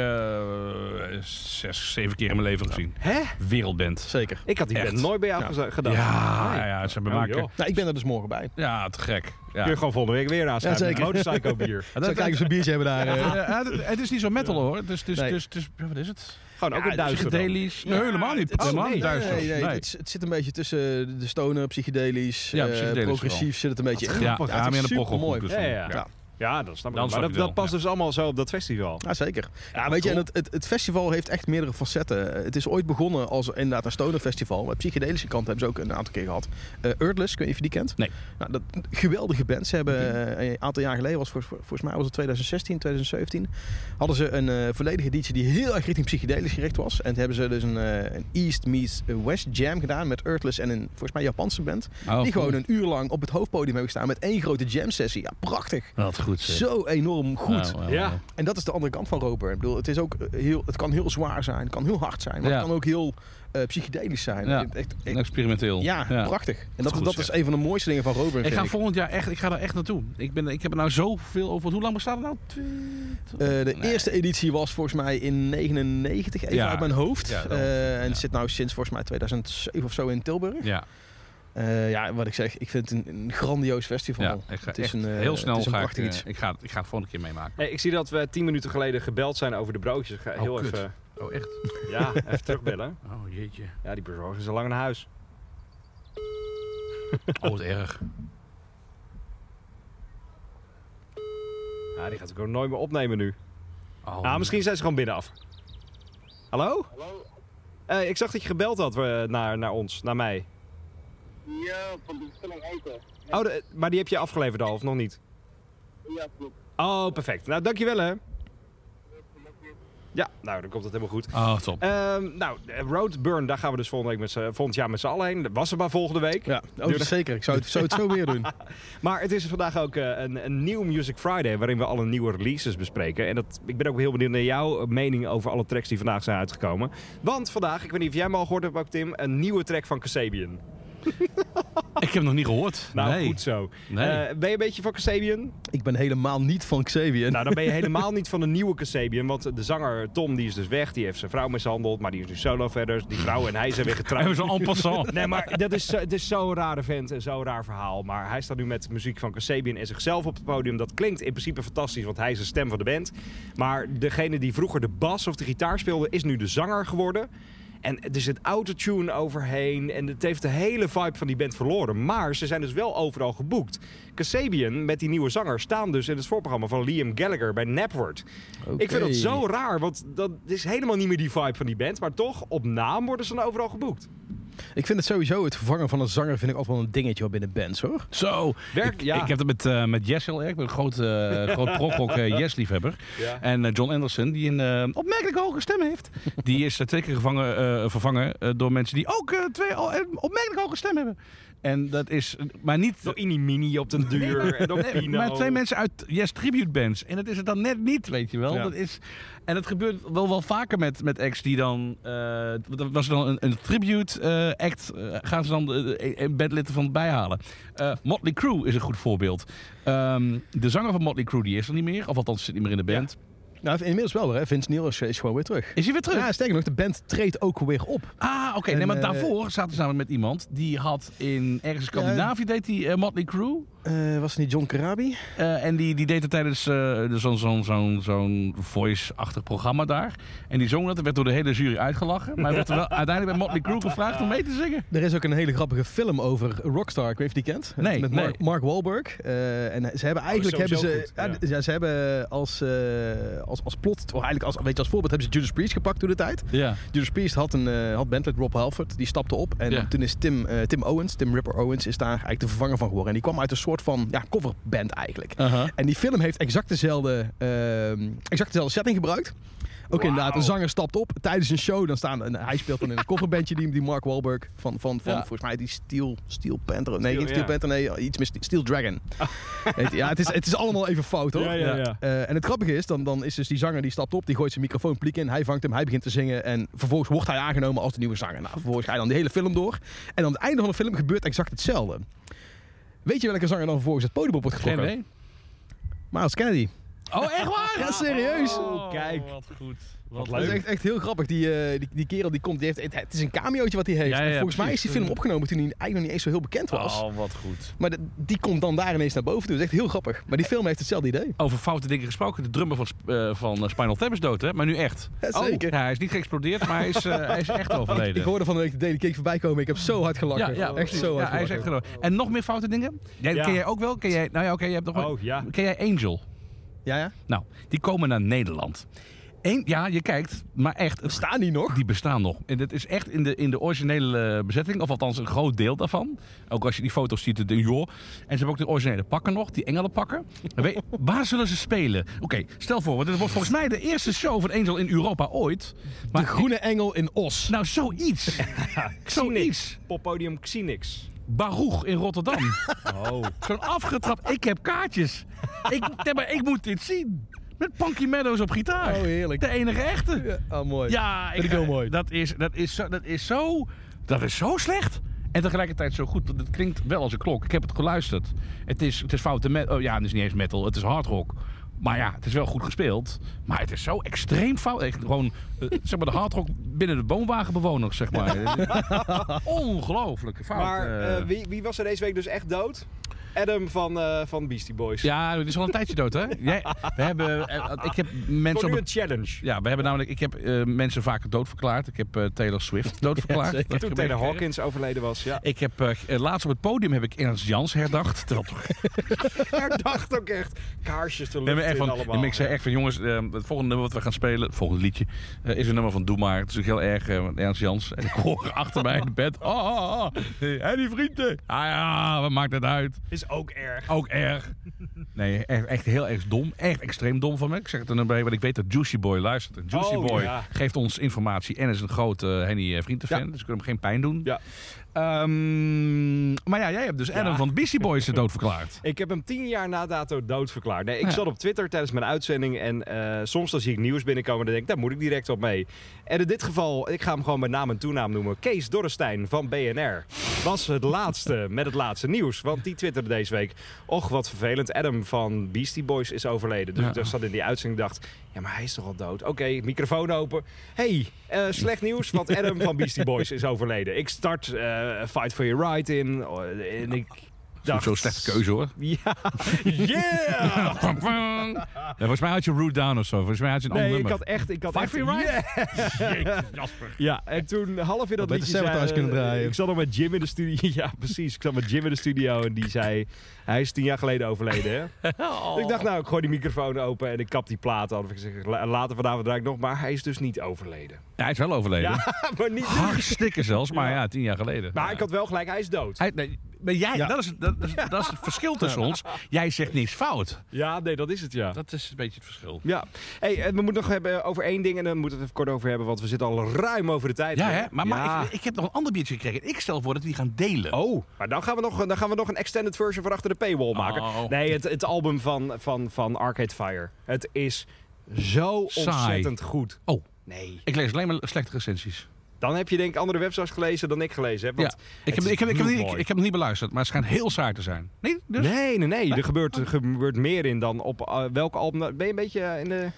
[SPEAKER 2] eh, zes, zeven keer in mijn leven gezien.
[SPEAKER 3] Hè?
[SPEAKER 2] Wereldband.
[SPEAKER 4] Zeker.
[SPEAKER 3] Ik had die
[SPEAKER 2] Echt?
[SPEAKER 3] band nooit bij jou geza-
[SPEAKER 2] Ja,
[SPEAKER 3] gedacht.
[SPEAKER 2] ja, ja, ze hebben
[SPEAKER 3] Oh,
[SPEAKER 2] maken...
[SPEAKER 3] joh.
[SPEAKER 4] Nou, ik ben er dus morgen bij.
[SPEAKER 2] Ja, te gek. Ja.
[SPEAKER 3] Kun je gewoon volgende week weer aanschuiven.
[SPEAKER 4] Ja, zeker.
[SPEAKER 3] Motorcycle bier.
[SPEAKER 4] Zal ik kijken of ze een biertje hebben daar. eh?
[SPEAKER 2] Eh, ja, het- het is niet zo metal hoor. Dus, dus,
[SPEAKER 4] Nee.
[SPEAKER 2] dus, dus, ja, wat is het?
[SPEAKER 3] Gewoon ook
[SPEAKER 2] Ja, dus
[SPEAKER 3] een duister dan.
[SPEAKER 2] Psychedelisch. Nee, helemaal niet.
[SPEAKER 4] Het-
[SPEAKER 2] helemaal niet
[SPEAKER 4] nee,
[SPEAKER 2] duister.
[SPEAKER 4] Nee, nee,
[SPEAKER 2] Nee.
[SPEAKER 4] Het, het zit een beetje tussen de stoner, psychedelisch,
[SPEAKER 2] Ja,
[SPEAKER 4] eh,
[SPEAKER 2] psychedelisch
[SPEAKER 4] progressief
[SPEAKER 2] vooral.
[SPEAKER 4] zit het een beetje in.
[SPEAKER 2] Ja,
[SPEAKER 4] het
[SPEAKER 2] ja,
[SPEAKER 4] is
[SPEAKER 2] meer een
[SPEAKER 4] supermooi.
[SPEAKER 2] proggelgroep dus dan.
[SPEAKER 3] Ja, ja, ja.
[SPEAKER 4] Ja.
[SPEAKER 3] Ja, dat snap ik.
[SPEAKER 2] Dan
[SPEAKER 3] wel.
[SPEAKER 2] snap
[SPEAKER 3] Maar dat,
[SPEAKER 2] ik wel,
[SPEAKER 3] dat past
[SPEAKER 2] ja.
[SPEAKER 3] dus allemaal zo op dat festival.
[SPEAKER 4] Ja, zeker. Ja,
[SPEAKER 3] Ja,
[SPEAKER 4] weet je, en
[SPEAKER 3] cool.
[SPEAKER 4] het, het, het festival heeft echt meerdere facetten. Eh, Het is ooit begonnen als inderdaad een stonerfestival. Maar psychedelische kant hebben ze ook een aantal keer gehad. Eh Earthless, kun je even die kent?
[SPEAKER 2] Nee.
[SPEAKER 4] Nou, dat, geweldige bands. Ze hebben eh, een aantal jaar geleden, was, voor- voor- volgens mij was het 2016, 2017... hadden ze een eh, volledige editie die heel erg richting psychedelisch gericht was. En toen hebben ze dus een, eh, een East meets West jam gedaan met Earthless en een volgens mij Japanse band.
[SPEAKER 2] Oh,
[SPEAKER 4] die gewoon
[SPEAKER 2] cool.
[SPEAKER 4] een uur lang op het hoofdpodium hebben gestaan met één grote jam sessie. Ja, prachtig.
[SPEAKER 2] Wat goed. goed. zeg.
[SPEAKER 4] zo enorm goed.
[SPEAKER 2] Nou, nou,
[SPEAKER 3] Ja.
[SPEAKER 2] nou.
[SPEAKER 4] En dat is de andere kant van Roper. Ik bedoel, het, is ook eh, heel, het kan heel zwaar zijn, het kan heel hard zijn, maar
[SPEAKER 2] Ja.
[SPEAKER 4] het kan ook heel eh, psychedelisch zijn.
[SPEAKER 2] Ja.
[SPEAKER 4] Het- echt-
[SPEAKER 2] En experimenteel.
[SPEAKER 4] ja, prachtig. En dat,
[SPEAKER 2] Goed
[SPEAKER 4] dat
[SPEAKER 2] zeg.
[SPEAKER 4] is een van de mooiste dingen van Roper.
[SPEAKER 2] Ik
[SPEAKER 4] vind
[SPEAKER 2] ga
[SPEAKER 4] ik.
[SPEAKER 2] volgend jaar echt, ik ga daar echt naartoe. Ik, ben, ik heb er nou zoveel over. Hoe lang bestaat het nou? Tw-
[SPEAKER 4] Eh, de
[SPEAKER 2] Nee.
[SPEAKER 4] eerste editie was volgens mij in 99, even
[SPEAKER 2] Ja.
[SPEAKER 4] uit mijn hoofd.
[SPEAKER 2] Ja, dat
[SPEAKER 4] Eh, en
[SPEAKER 2] ja.
[SPEAKER 4] zit nou sinds volgens mij 2007 of zo in Tilburg.
[SPEAKER 2] Ja,
[SPEAKER 4] Eh, ja, wat ik zeg, ik vind het een, een grandioos festival.
[SPEAKER 2] ja, ik ga
[SPEAKER 4] het is
[SPEAKER 2] echt
[SPEAKER 4] een, eh,
[SPEAKER 2] heel snel
[SPEAKER 4] het is een
[SPEAKER 2] ga ik, eh,
[SPEAKER 4] prachtig iets.
[SPEAKER 2] ik ga, ik ga het volgende keer meemaken.
[SPEAKER 3] Hey, ik zie dat we tien minuten geleden gebeld zijn over de broodjes. Ik ga
[SPEAKER 2] Oh,
[SPEAKER 3] heel
[SPEAKER 2] kut.
[SPEAKER 3] even,
[SPEAKER 2] Oh, echt?
[SPEAKER 3] ja, even terugbellen.
[SPEAKER 2] Oh, jeetje.
[SPEAKER 3] Ja, die bezorger is al lang naar huis.
[SPEAKER 2] Oh, wat erg.
[SPEAKER 3] Ja, die gaat ik ook nooit meer opnemen nu.
[SPEAKER 2] Oh,
[SPEAKER 3] ah, misschien zijn ze gewoon binnenaf. Hallo? Hallo? ik zag dat je gebeld had eh, naar, naar ons, naar mij.
[SPEAKER 6] Ja, van de bestelling eten.
[SPEAKER 3] Oh, de- maar die heb je afgeleverd al, of nog niet?
[SPEAKER 6] Ja, klopt.
[SPEAKER 3] Oh, perfect. Nou, dankjewel hè. Ja, nou, dan komt het helemaal goed.
[SPEAKER 2] Oh, top.
[SPEAKER 3] Ehm, nou, eh, Roadburn, daar gaan we dus volgende week met z'n- volgend jaar met z'n allen heen. Dat was er maar volgende week.
[SPEAKER 4] Ja, oh, dat is zeker. Ik zou het, zou het zo weer doen.
[SPEAKER 3] Maar het is vandaag ook eh, een, een nieuw Music Friday, waarin we alle nieuwe releases bespreken. En dat, ik ben ook heel benieuwd naar jouw mening over alle tracks die vandaag zijn uitgekomen. Want vandaag, ik weet niet of jij hem al gehoord hebt, ook Tim, een nieuwe track van Kasabian.
[SPEAKER 2] ik heb hem nog niet gehoord.
[SPEAKER 3] Nou,
[SPEAKER 2] nee.
[SPEAKER 3] goed zo.
[SPEAKER 2] Nee.
[SPEAKER 3] Eh, ben je een beetje van Kasabian?
[SPEAKER 4] Ik ben helemaal niet van Xavier.
[SPEAKER 3] Nou, dan ben je helemaal niet van de nieuwe Kasabian, want de zanger Tom die is dus weg. Die heeft zijn vrouw mishandeld, maar die is nu solo verder. Die vrouw en hij zijn weer
[SPEAKER 2] Even
[SPEAKER 3] getrouwd.
[SPEAKER 2] zo en passant.
[SPEAKER 3] Nee, maar dat is, zo- het is zo'n rare vent en zo'n raar verhaal. Maar hij staat nu met muziek van Kasabian en zichzelf op het podium. Dat klinkt in principe fantastisch, want hij is de stem van de band. Maar degene die vroeger de bas of de gitaar speelde, is nu de zanger geworden. En er zit autotune overheen. En het heeft de hele vibe van die band verloren. Maar ze zijn dus wel overal geboekt. Kasabian met die nieuwe zanger staan dus in het voorprogramma van Liam Gallagher bij Napword. Ik vind dat zo raar, want dat is helemaal niet meer die vibe van die band. Maar toch, op naam worden ze dan overal geboekt.
[SPEAKER 4] Ik vind het sowieso, het vervangen van een zanger vind ik altijd wel een dingetje wel binnen bands hoor.
[SPEAKER 2] Zo,
[SPEAKER 3] Werk-
[SPEAKER 2] ik,
[SPEAKER 3] ja.
[SPEAKER 2] ik heb het met, eh, met Jess heel erg. Ik ben een groot, eh groot progrock Jess-liefhebber.
[SPEAKER 3] Ja.
[SPEAKER 2] En eh, John Anderson, die een eh, opmerkelijk hoge stem heeft... die is eh, twee keer gevangen, eh, vervangen eh, door mensen die ook eh, twee al- een opmerkelijk hoge stem hebben. En dat is, eh, maar niet...
[SPEAKER 3] Door Inimini op den duur. en dan
[SPEAKER 2] Nee,
[SPEAKER 3] Pino.
[SPEAKER 2] maar twee mensen uit Yes Tribute Bands. En dat is het dan net niet, weet je wel.
[SPEAKER 4] Ja.
[SPEAKER 2] Dat is, en dat gebeurt wel, wel vaker met, met acts die dan... eh, dat was dan een, een tribute eh, act. eh, gaan ze dan de- eh, de- een bandlid ervan bijhalen. Eh, Motley Crue is een goed voorbeeld. Ehm, de zanger van Motley Crue die is er niet meer. Of althans zit niet meer in de band.
[SPEAKER 4] Nou, inmiddels wel hoor. hè. Vince Neil is, is gewoon weer terug.
[SPEAKER 2] Is hij weer terug?
[SPEAKER 4] Ja, sterker nog, de band treedt ook weer op.
[SPEAKER 2] Ah, oké.
[SPEAKER 4] En,
[SPEAKER 2] Nee, maar
[SPEAKER 4] eh,
[SPEAKER 2] daarvoor zaten ze samen met iemand. Die had in ergens in Scandinavië deed hij eh, Motley Crue.
[SPEAKER 4] Eh, was het niet John Karabi?
[SPEAKER 2] Eh, en die, die deed het tijdens eh, zo'n zo'n zo'n zo'n voice-achtig programma daar. En die zong dat. Er werd door de hele jury uitgelachen. Maar hij werd er wel uiteindelijk bij Motley Crue gevraagd om mee te zingen.
[SPEAKER 4] Er is ook een hele grappige film over Rockstar. Ik weet niet of je die kent.
[SPEAKER 2] Nee,
[SPEAKER 4] Met Mark,
[SPEAKER 2] nee.
[SPEAKER 4] Mark Wahlberg. Eh, en ze hebben eigenlijk
[SPEAKER 3] is
[SPEAKER 4] hebben
[SPEAKER 3] Oh, sowieso
[SPEAKER 4] ze,
[SPEAKER 3] goed,
[SPEAKER 4] ja,
[SPEAKER 3] ja.
[SPEAKER 4] d- ja, ze hebben als, eh, als, als plot, of eigenlijk als, weet je, als voorbeeld hebben ze Judas Priest gepakt toen de tijd.
[SPEAKER 2] Ja.
[SPEAKER 4] Judas Priest had een eh, had bandlid Rob Halford, die stapte op. En
[SPEAKER 2] Ja.
[SPEAKER 4] toen is Tim, eh, Tim Owens, Tim Ripper Owens, is daar eigenlijk de vervanger van geworden. En die kwam uit een soort van ja, coverband eigenlijk.
[SPEAKER 2] Uh-huh.
[SPEAKER 4] En die film heeft exact dezelfde, ehm, exact dezelfde setting gebruikt. Ook inderdaad, een zanger stapt op tijdens een show. Dan staan, en hij speelt dan in een coverbandje die, die Mark Wahlberg van, van, van
[SPEAKER 2] Ja.
[SPEAKER 4] volgens mij die Steel, Steel Panther. Nee,
[SPEAKER 3] Steel,
[SPEAKER 4] geen Steel
[SPEAKER 3] ja.
[SPEAKER 4] Panther, nee, oh, iets met Steel Dragon. Heet- ja, het is, het is allemaal even fout hoor.
[SPEAKER 3] Ja, ja, ja.
[SPEAKER 4] Eh, en het grappige is, dan, dan is dus die zanger die stapt op, die gooit zijn microfoon pliek in, hij vangt hem, hij begint te zingen en vervolgens wordt hij aangenomen als de nieuwe zanger. Nou, vervolgens ga je dan de hele film door en aan het einde van de film gebeurt exact hetzelfde. Weet je welke zanger dan vervolgens het podium op wordt
[SPEAKER 2] Geen
[SPEAKER 4] getrokken?
[SPEAKER 2] idee.
[SPEAKER 4] Miles Kennedy.
[SPEAKER 2] Oh, echt waar?
[SPEAKER 4] Ja, serieus.
[SPEAKER 2] Oh,
[SPEAKER 3] kijk.
[SPEAKER 2] Wat goed. Wat
[SPEAKER 4] Dat is echt, echt heel grappig. Die, eh, die, die kerel die komt, die heeft, het is een cameootje wat hij heeft.
[SPEAKER 2] Ja, ja, ja,
[SPEAKER 4] Volgens mij is die
[SPEAKER 2] precies.
[SPEAKER 4] film opgenomen toen hij eigenlijk nog niet eens zo heel bekend was.
[SPEAKER 2] Oh, wat goed.
[SPEAKER 4] Maar de- die komt dan daar ineens naar boven toe. Dat is echt heel grappig. Maar die film heeft hetzelfde idee.
[SPEAKER 2] Over foute dingen gesproken. De drummer van, Sp- eh, van eh, Spinal Tap is dood, hè? Maar nu echt.
[SPEAKER 4] Ja, zeker.
[SPEAKER 2] Oh, ja, hij is niet geëxplodeerd, maar hij is, eh, hij is echt
[SPEAKER 4] Ik, ik
[SPEAKER 2] overleden.
[SPEAKER 4] hoorde van de week de Daily Cake voorbij komen. Ik heb zo hard gelachen. echt zo hard
[SPEAKER 2] Ja, hij is echt
[SPEAKER 4] gelachen.
[SPEAKER 2] gedood. En nog meer foute dingen? Jij,
[SPEAKER 3] Ja.
[SPEAKER 2] Ken jij ook wel? Ken jij, nou ja, oké, je hebt nog wel.
[SPEAKER 3] Oh, ja.
[SPEAKER 2] Ken jij Angel?
[SPEAKER 4] Ja, ja.
[SPEAKER 2] Nou, die komen naar Nederland. Eén, ja, je kijkt, maar echt, het-
[SPEAKER 4] Staan die nog?
[SPEAKER 2] die bestaan nog. En dat is echt in de, in de originele eh, bezetting, of althans een groot deel daarvan. Ook als je die foto's ziet, dan denk je, joh. En ze hebben ook de originele pakken nog, die engelenpakken. En weet- waar zullen ze spelen? Oké, stel voor, want dit wordt volgens mij de eerste show van Angel in Europa ooit. Maar
[SPEAKER 4] De Groene Engel in Os.
[SPEAKER 2] nou, zoiets. zoiets.
[SPEAKER 3] Poppodium Xenix.
[SPEAKER 2] Baruch in Rotterdam.
[SPEAKER 3] Oh.
[SPEAKER 2] Zo'n afgetrapt. Ik heb kaartjes. Ik, nee, maar ik moet dit zien. Met Punky Meadows op gitaar.
[SPEAKER 4] Oh, heerlijk.
[SPEAKER 2] De enige echte.
[SPEAKER 4] Ja, oh, mooi.
[SPEAKER 2] Ja,
[SPEAKER 4] Vind ik heel mooi.
[SPEAKER 2] Dat is, dat, is zo, dat, is zo, dat is zo slecht. En tegelijkertijd zo goed. want Het klinkt wel als een klok. Ik heb het geluisterd. Het is, het is foute metal. Oh ja, het is niet eens metal. Het is hard rock. Maar ja, het is wel goed gespeeld. Maar het is zo extreem fout. Echt gewoon, eh, zeg maar, de hard rock binnen de woonwagenbewoners, zeg maar. Ongelooflijke fout.
[SPEAKER 3] Maar
[SPEAKER 2] eh.
[SPEAKER 3] eh, wie, wie was er deze week dus echt dood? Adam van, eh, van Beastie Boys.
[SPEAKER 2] Ja, die is al een tijdje dood, hè? Jij, we hebben, eh, ik heb
[SPEAKER 3] Voor
[SPEAKER 2] mensen
[SPEAKER 3] nu
[SPEAKER 2] op
[SPEAKER 3] een challenge.
[SPEAKER 2] Ja, we hebben namelijk, ik heb eh, mensen vaak doodverklaard. Ik heb eh, Taylor Swift doodverklaard. Dat heb
[SPEAKER 3] Toen Taylor
[SPEAKER 2] ik meegekregen.
[SPEAKER 3] Hawkins overleden was. Ja.
[SPEAKER 2] Ik heb eh, eh, laatst op het podium heb ik Ernst Jans herdacht. Terwijl toch,
[SPEAKER 3] Daar dacht ook echt kaarsjes te
[SPEAKER 2] nee, maar
[SPEAKER 3] luchten
[SPEAKER 2] echt
[SPEAKER 3] in
[SPEAKER 2] van,
[SPEAKER 3] allemaal.
[SPEAKER 2] en ik zei echt van jongens, eh, het volgende nummer wat we gaan spelen, het volgende liedje, eh, is een nummer van Doe maar. Het is natuurlijk heel erg, eh, want Ernst Jans. En ik hoor achter mij in de bed, oh, oh, oh, en die vrienden. Ah ja, wat maakt het uit?
[SPEAKER 3] Is ook erg.
[SPEAKER 2] Ook erg. Nee, echt, echt heel erg dom. Echt extreem dom van me. Ik zeg het er nou bij, want ik weet dat Juicy Boy luistert. En Juicy
[SPEAKER 3] Oh,
[SPEAKER 2] Boy
[SPEAKER 3] ja.
[SPEAKER 2] geeft ons informatie en is een grote eh, Henny eh, Vriendenfan. Dus ik kan hem geen pijn doen.
[SPEAKER 3] Ja.
[SPEAKER 2] Ehm, maar ja, jij hebt dus Adam van de Beastie Boys de dood verklaard.
[SPEAKER 3] Ik heb hem tien jaar na dato doodverklaard. Nee, ik zat op Twitter tijdens mijn uitzending en eh, soms dan zie ik nieuws binnenkomen en dan denk ik, daar moet ik direct op mee. En in dit geval, ik ga hem gewoon met naam en toenaam noemen. Kees Dorrestein van BNR was het laatste met het laatste nieuws, want die twitterde deze week, och wat vervelend, Adam van Beastie Boys is overleden. Dus
[SPEAKER 2] Ja.
[SPEAKER 3] ik daar zat in die uitzending en dacht, ja maar hij is toch al dood? Oké, microfoon open. hey, eh, slecht nieuws, want Adam van Beastie Boys is overleden. Ik start eh, Fight for Your Right in eh, en ik...
[SPEAKER 2] Dat
[SPEAKER 3] dacht-
[SPEAKER 2] is ook zo'n slechte keuze hoor.
[SPEAKER 3] ja, yeah!
[SPEAKER 2] Pam, pam. Ja, volgens mij had je Root Down of zo. Volgens mij had je een
[SPEAKER 3] Nee,
[SPEAKER 2] ander
[SPEAKER 3] ik
[SPEAKER 2] nummer.
[SPEAKER 3] had echt... Ik had
[SPEAKER 2] Five
[SPEAKER 3] echt,
[SPEAKER 2] for your
[SPEAKER 3] Yeah!
[SPEAKER 2] Jezus, Jasper.
[SPEAKER 3] Ja, en toen half in dat
[SPEAKER 4] Had beter
[SPEAKER 3] liedje
[SPEAKER 4] Sabotage
[SPEAKER 3] eh,
[SPEAKER 4] kunnen draaien.
[SPEAKER 3] Ik zat nog met Jim in de studio. Ja, precies. Ik zat met Jim in de studio en die zei... Hij is tien jaar geleden overleden, hè? Dus ik dacht, nou, ik gooi die microfoon open en ik kap die plaat af. Ik zeg, la- later vanavond draai ik nog. Maar hij is dus niet overleden.
[SPEAKER 2] Ja, hij is wel overleden.
[SPEAKER 3] Ja, maar niet...
[SPEAKER 2] Hartstikke zelfs, maar ja, tien jaar geleden.
[SPEAKER 3] Maar
[SPEAKER 2] Ja.
[SPEAKER 3] ik had wel gelijk, hij is dood.
[SPEAKER 2] Hij- nee, maar jij,
[SPEAKER 4] Ja.
[SPEAKER 2] dat, is, dat, dat is, dat is het verschil tussen ons. Jij zegt niks fout.
[SPEAKER 3] Ja, nee, dat is het, ja.
[SPEAKER 2] Dat is een beetje het verschil.
[SPEAKER 3] Ja. Hey, eh, we moeten nog hebben over één ding en dan moeten we het even kort over hebben, want we zitten al ruim over de tijd.
[SPEAKER 2] Ja,
[SPEAKER 3] heen.
[SPEAKER 2] hè? maar, maar
[SPEAKER 3] Ja.
[SPEAKER 2] Ik, ik heb nog een ander biertje gekregen. Ik stel voor dat we die gaan delen.
[SPEAKER 3] Oh, maar dan gaan, we nog, dan gaan we nog een extended version van achter de paywall maken.
[SPEAKER 2] Oh.
[SPEAKER 3] Nee, het, het album van, van, van Arcade Fire. Het is zo
[SPEAKER 2] Saai.
[SPEAKER 3] ontzettend goed.
[SPEAKER 2] Oh.
[SPEAKER 3] Nee.
[SPEAKER 2] Ik lees alleen maar slechte recensies.
[SPEAKER 3] Dan heb je denk ik andere websites gelezen dan ik gelezen heb. Want
[SPEAKER 2] Ja. Ik heb,
[SPEAKER 3] is
[SPEAKER 2] ik, heb, ik, heb, niet- ik,
[SPEAKER 3] bloedmooi.
[SPEAKER 2] ik heb hem niet beluisterd, maar het schijnt heel saai te zijn. Nee? Dus?
[SPEAKER 3] Nee, nee, nee. Er gebeurt, er gebeurt meer in dan op eh, welke album. Ben je een beetje eh, in de...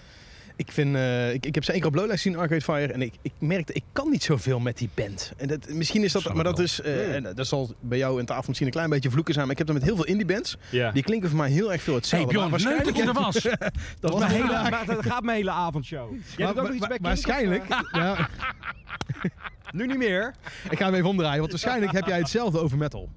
[SPEAKER 4] Ik, vind, eh, ik, ik heb ze één keer op Lowlight zien, Arcade Fire. En ik, ik merkte, ik kan niet zoveel met die band. En dat, misschien is dat,
[SPEAKER 2] Snap ik
[SPEAKER 4] maar dat
[SPEAKER 2] wel.
[SPEAKER 4] is, eh, en dat zal bij jou in tafel misschien een klein beetje vloeken zijn. Maar ik heb dat met heel veel indie bands.
[SPEAKER 3] Ja.
[SPEAKER 4] Die klinken voor mij heel erg veel
[SPEAKER 2] Hey
[SPEAKER 4] hetzelfde.
[SPEAKER 2] Bjorn,
[SPEAKER 4] maar
[SPEAKER 2] leuk dat je er was.
[SPEAKER 4] dat
[SPEAKER 3] Maar
[SPEAKER 4] was heel
[SPEAKER 3] hele, maar dat gaat mijn hele avondshow. Jij doet ook nog iets bij Kink,
[SPEAKER 4] waarschijnlijk,
[SPEAKER 3] of,
[SPEAKER 4] ja,
[SPEAKER 3] eh, nu niet meer.
[SPEAKER 4] ik ga hem even omdraaien, want waarschijnlijk heb jij hetzelfde over metal.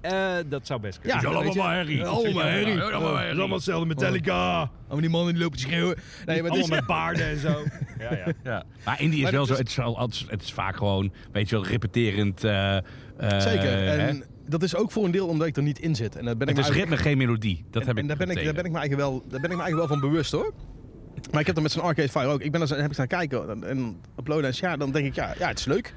[SPEAKER 3] Eh, dat zou best kunnen.
[SPEAKER 4] Ja,
[SPEAKER 2] Allemaal
[SPEAKER 4] weet je.
[SPEAKER 2] maar herrie.
[SPEAKER 4] Allemaal herrie.
[SPEAKER 2] Ja, allemaal herrie.
[SPEAKER 4] hetzelfde Metallica. Oh, maar die mannen die lopen te schreeuwen. Nee, maar dit is-
[SPEAKER 3] Allemaal met baarden en zo. Ja, ja.
[SPEAKER 2] Ja. Maar Indie is
[SPEAKER 4] Maar
[SPEAKER 2] wel
[SPEAKER 4] dat
[SPEAKER 2] zo,
[SPEAKER 4] is-
[SPEAKER 2] het is, wel- het is- het is vaak gewoon, weet je wel, repeterend. eh, eh,
[SPEAKER 4] Zeker.
[SPEAKER 2] hè?
[SPEAKER 4] En dat is ook voor een deel omdat ik er niet in zit. En dat ben ik
[SPEAKER 2] het is
[SPEAKER 4] me eigenlijk-
[SPEAKER 2] ritme, geen melodie. Dat heb ik
[SPEAKER 4] en daar ben, ik, daar,
[SPEAKER 2] meteen.
[SPEAKER 4] ben ik me eigenlijk wel, daar ben ik me eigenlijk wel van bewust hoor. Maar ik heb dat met zo'n Arcade Fire ook. Ik ben daar zo- heb ik gaan kijken en- en uploaden. En ja, dan denk ik, ja, ja, het is leuk.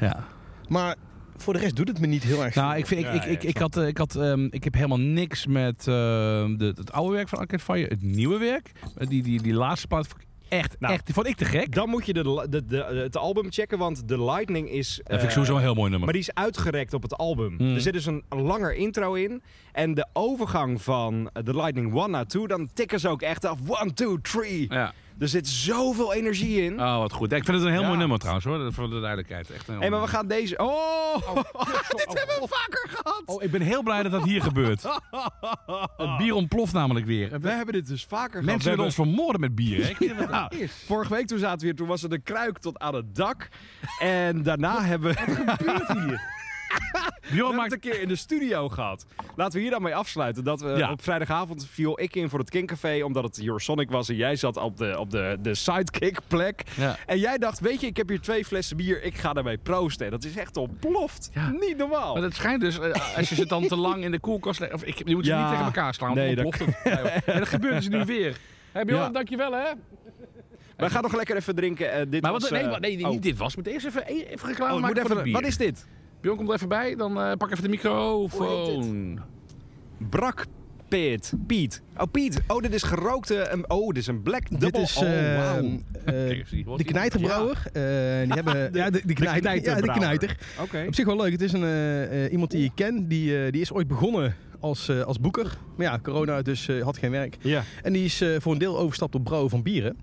[SPEAKER 2] Ja.
[SPEAKER 4] Maar voor de rest doet het me niet heel erg
[SPEAKER 2] Nou, ik, vind, ik,
[SPEAKER 3] Ja,
[SPEAKER 2] ik,
[SPEAKER 3] ja,
[SPEAKER 2] ik, ik,
[SPEAKER 3] snap
[SPEAKER 2] had, eh, ik, had, ehm, ik heb helemaal niks met eh, de, het oude werk van Arcade Fire, het nieuwe werk. Eh, Die, die, die laatste part vond ik echt,
[SPEAKER 3] Nou,
[SPEAKER 2] echt, die vond ik te gek.
[SPEAKER 3] Dan moet je de, de, de, het album checken, want The Lightning is...
[SPEAKER 2] dat vind ik
[SPEAKER 3] eh,
[SPEAKER 2] sowieso een heel mooi nummer.
[SPEAKER 3] Maar die is uitgerekt op het album.
[SPEAKER 2] Hmm.
[SPEAKER 3] Er zit dus een langer intro in. En de overgang van eh, The Lightning 1 naar 2, dan tikken ze ook echt af. 1, 2, 3.
[SPEAKER 2] Ja.
[SPEAKER 3] Er zit zoveel energie in.
[SPEAKER 2] Oh, wat goed. Ja, Ik vind het een heel
[SPEAKER 3] Ja.
[SPEAKER 2] mooi nummer trouwens, hoor. Voor de duidelijkheid. Echt een heel
[SPEAKER 3] Hé, maar we
[SPEAKER 2] mooi
[SPEAKER 3] gaan deze... Oh! dit hebben we vaker gehad!
[SPEAKER 2] nummer. Oh, ik ben heel blij dat dat hier gebeurt. Het bier ontploft namelijk weer.
[SPEAKER 3] we hebben dit dus vaker gehad.
[SPEAKER 2] Mensen
[SPEAKER 3] We hebben-
[SPEAKER 2] willen ons vermoorden met bier. Hè? Ik Nou, weet niet wat dat
[SPEAKER 3] Ja,
[SPEAKER 2] is.
[SPEAKER 3] vorige week toen zaten we hier, toen was er een kruik tot aan het dak. En daarna hebben we... Wat gebeurt hier?
[SPEAKER 2] Bjorn
[SPEAKER 3] We hebben
[SPEAKER 2] maakt...
[SPEAKER 3] het een keer in de studio gehad. Laten we hier dan mee afsluiten. Dat we
[SPEAKER 2] Ja.
[SPEAKER 3] op vrijdagavond viel ik in voor het Kinkcafé. Omdat het Eurosonic was. En jij zat op de, op de, de sidekick plek.
[SPEAKER 2] Ja.
[SPEAKER 3] En jij dacht, weet je, ik heb hier twee flessen bier. Ik ga daarmee proosten. En dat is echt ontploft.
[SPEAKER 2] Ja.
[SPEAKER 3] Niet normaal.
[SPEAKER 2] Maar het schijnt dus, eh, als je ze dan te lang in de koelkast legt... Of ik, je moet ze
[SPEAKER 3] Ja.
[SPEAKER 2] niet tegen elkaar slaan, want
[SPEAKER 3] Nee,
[SPEAKER 2] dan
[SPEAKER 3] dat-
[SPEAKER 2] ontploft het. En dat gebeurt dus nu weer. Hé Bjorn,
[SPEAKER 3] Ja.
[SPEAKER 2] dankjewel hè.
[SPEAKER 3] We gaan nog lekker even drinken. Eh, dit
[SPEAKER 2] Maar
[SPEAKER 3] was,
[SPEAKER 2] wat, nee,
[SPEAKER 3] eh,
[SPEAKER 2] maar nee, nee,
[SPEAKER 3] oh.
[SPEAKER 2] niet dit was. Maar eerst even, even reclame
[SPEAKER 3] Oh, ik
[SPEAKER 2] maken
[SPEAKER 3] moet
[SPEAKER 2] voor
[SPEAKER 3] even,
[SPEAKER 2] het bier.
[SPEAKER 3] wat is dit?
[SPEAKER 2] Bjorn, kom er even bij. Dan eh, pak even de microfoon.
[SPEAKER 3] Brak Piet. Piet. Oh, Piet. Oh, dit is gerookte... ehm, oh, dit is een black double.
[SPEAKER 4] Dit is
[SPEAKER 3] oh, wauw.
[SPEAKER 4] ehm, eh,
[SPEAKER 2] Kijk eens, die hoort
[SPEAKER 4] de
[SPEAKER 2] hier.
[SPEAKER 4] knijterbrouwer. Eh, die hebben, ja, de, de, knijter, ja, de
[SPEAKER 3] knijterbrouwer.
[SPEAKER 4] knijter.
[SPEAKER 3] Oké.
[SPEAKER 4] Op zich wel leuk. Het is een, eh, eh, iemand die ik ken. Die, eh, die is ooit begonnen als, eh, als boeker. Maar ja, corona, dus eh, had geen werk.
[SPEAKER 3] Ja.
[SPEAKER 4] En die is eh, voor een deel overgestapt op brouwen van bieren.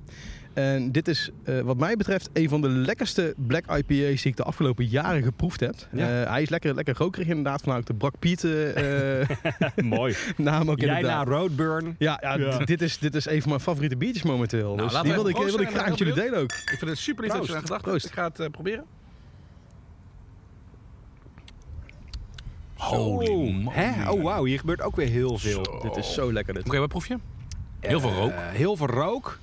[SPEAKER 4] En dit is eh, wat mij betreft een van de lekkerste black IPA's die ik de afgelopen jaren geproefd heb.
[SPEAKER 3] Ja.
[SPEAKER 4] Eh, hij is lekker, lekker rokerig inderdaad, vanuit de Brak Piet eh, eh,
[SPEAKER 3] Mooi.
[SPEAKER 4] naam ook
[SPEAKER 3] Jij
[SPEAKER 4] inderdaad.
[SPEAKER 3] naar Roadburn.
[SPEAKER 4] Ja, ja, d- Dit, is, dit is een van mijn favoriete biertjes momenteel. dus
[SPEAKER 2] Nou, laten
[SPEAKER 4] die
[SPEAKER 2] we
[SPEAKER 4] wil ik,
[SPEAKER 2] even proosten
[SPEAKER 4] wil ik
[SPEAKER 2] en
[SPEAKER 4] graag
[SPEAKER 2] dan
[SPEAKER 4] met jullie
[SPEAKER 2] heel
[SPEAKER 4] delen ook.
[SPEAKER 2] Ik vind het super lief dat je
[SPEAKER 4] Proost.
[SPEAKER 2] eraan gedacht hebt.
[SPEAKER 4] Proost.
[SPEAKER 2] Ik ga het eh, proberen. Holy moly.
[SPEAKER 3] Hè? Oh, wauw. Hier gebeurt ook weer heel veel.
[SPEAKER 2] Zo.
[SPEAKER 4] Dit is zo lekker dit.
[SPEAKER 2] Oké, wat proef je? Heel veel rook.
[SPEAKER 3] Eh, heel veel rook.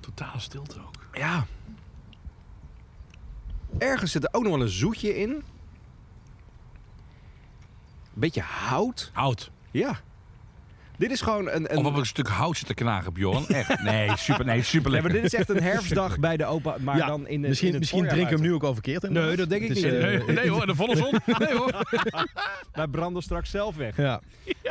[SPEAKER 2] Totale stilte ook.
[SPEAKER 3] Ja. Ergens zit er ook nog wel een zoetje in. Beetje hout.
[SPEAKER 2] Hout.
[SPEAKER 3] Ja. Dit is gewoon een... een
[SPEAKER 2] Of op een stuk hout zitten knagen, Bjorn. Echt. Nee, super, nee, super
[SPEAKER 3] Nee,
[SPEAKER 2] lekker.
[SPEAKER 3] maar dit is echt een herfstdag bij de opa. Maar dan in het,
[SPEAKER 4] misschien
[SPEAKER 3] in het
[SPEAKER 4] misschien
[SPEAKER 3] voorjaar
[SPEAKER 4] drinken
[SPEAKER 3] buiten.
[SPEAKER 4] we hem nu ook al verkeerd. in.
[SPEAKER 3] Nee, dat denk ik
[SPEAKER 4] Het is,
[SPEAKER 3] niet.
[SPEAKER 4] eh,
[SPEAKER 2] Nee, nee hoor, de volle zon. Nee hoor.
[SPEAKER 3] Wij branden straks zelf weg.
[SPEAKER 4] ja.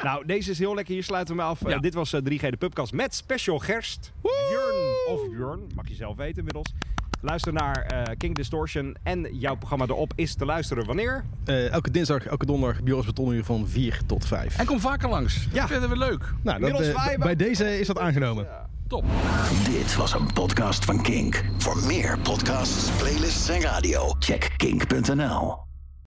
[SPEAKER 3] Nou, deze is heel lekker. Hier sluiten we me af.
[SPEAKER 2] Ja.
[SPEAKER 3] Eh, dit was eh, 3G de Pubcast met special Gerst. Björn of Björn, mag je zelf weten inmiddels. Luister naar eh, King Distortion en jouw programma erop is te luisteren wanneer?
[SPEAKER 4] Eh, elke dinsdag, elke donderdag, Björns Betonuur van 4 tot 5.
[SPEAKER 2] En kom vaker langs.
[SPEAKER 3] Ja.
[SPEAKER 2] Dat vinden we leuk.
[SPEAKER 4] Nou, dat,
[SPEAKER 3] Inmiddels
[SPEAKER 4] eh,
[SPEAKER 3] wij-
[SPEAKER 4] bij deze is dat aangenomen.
[SPEAKER 2] Top.
[SPEAKER 1] Dit was een podcast van Kink. Voor meer podcasts, playlists en radio, check kink.nl.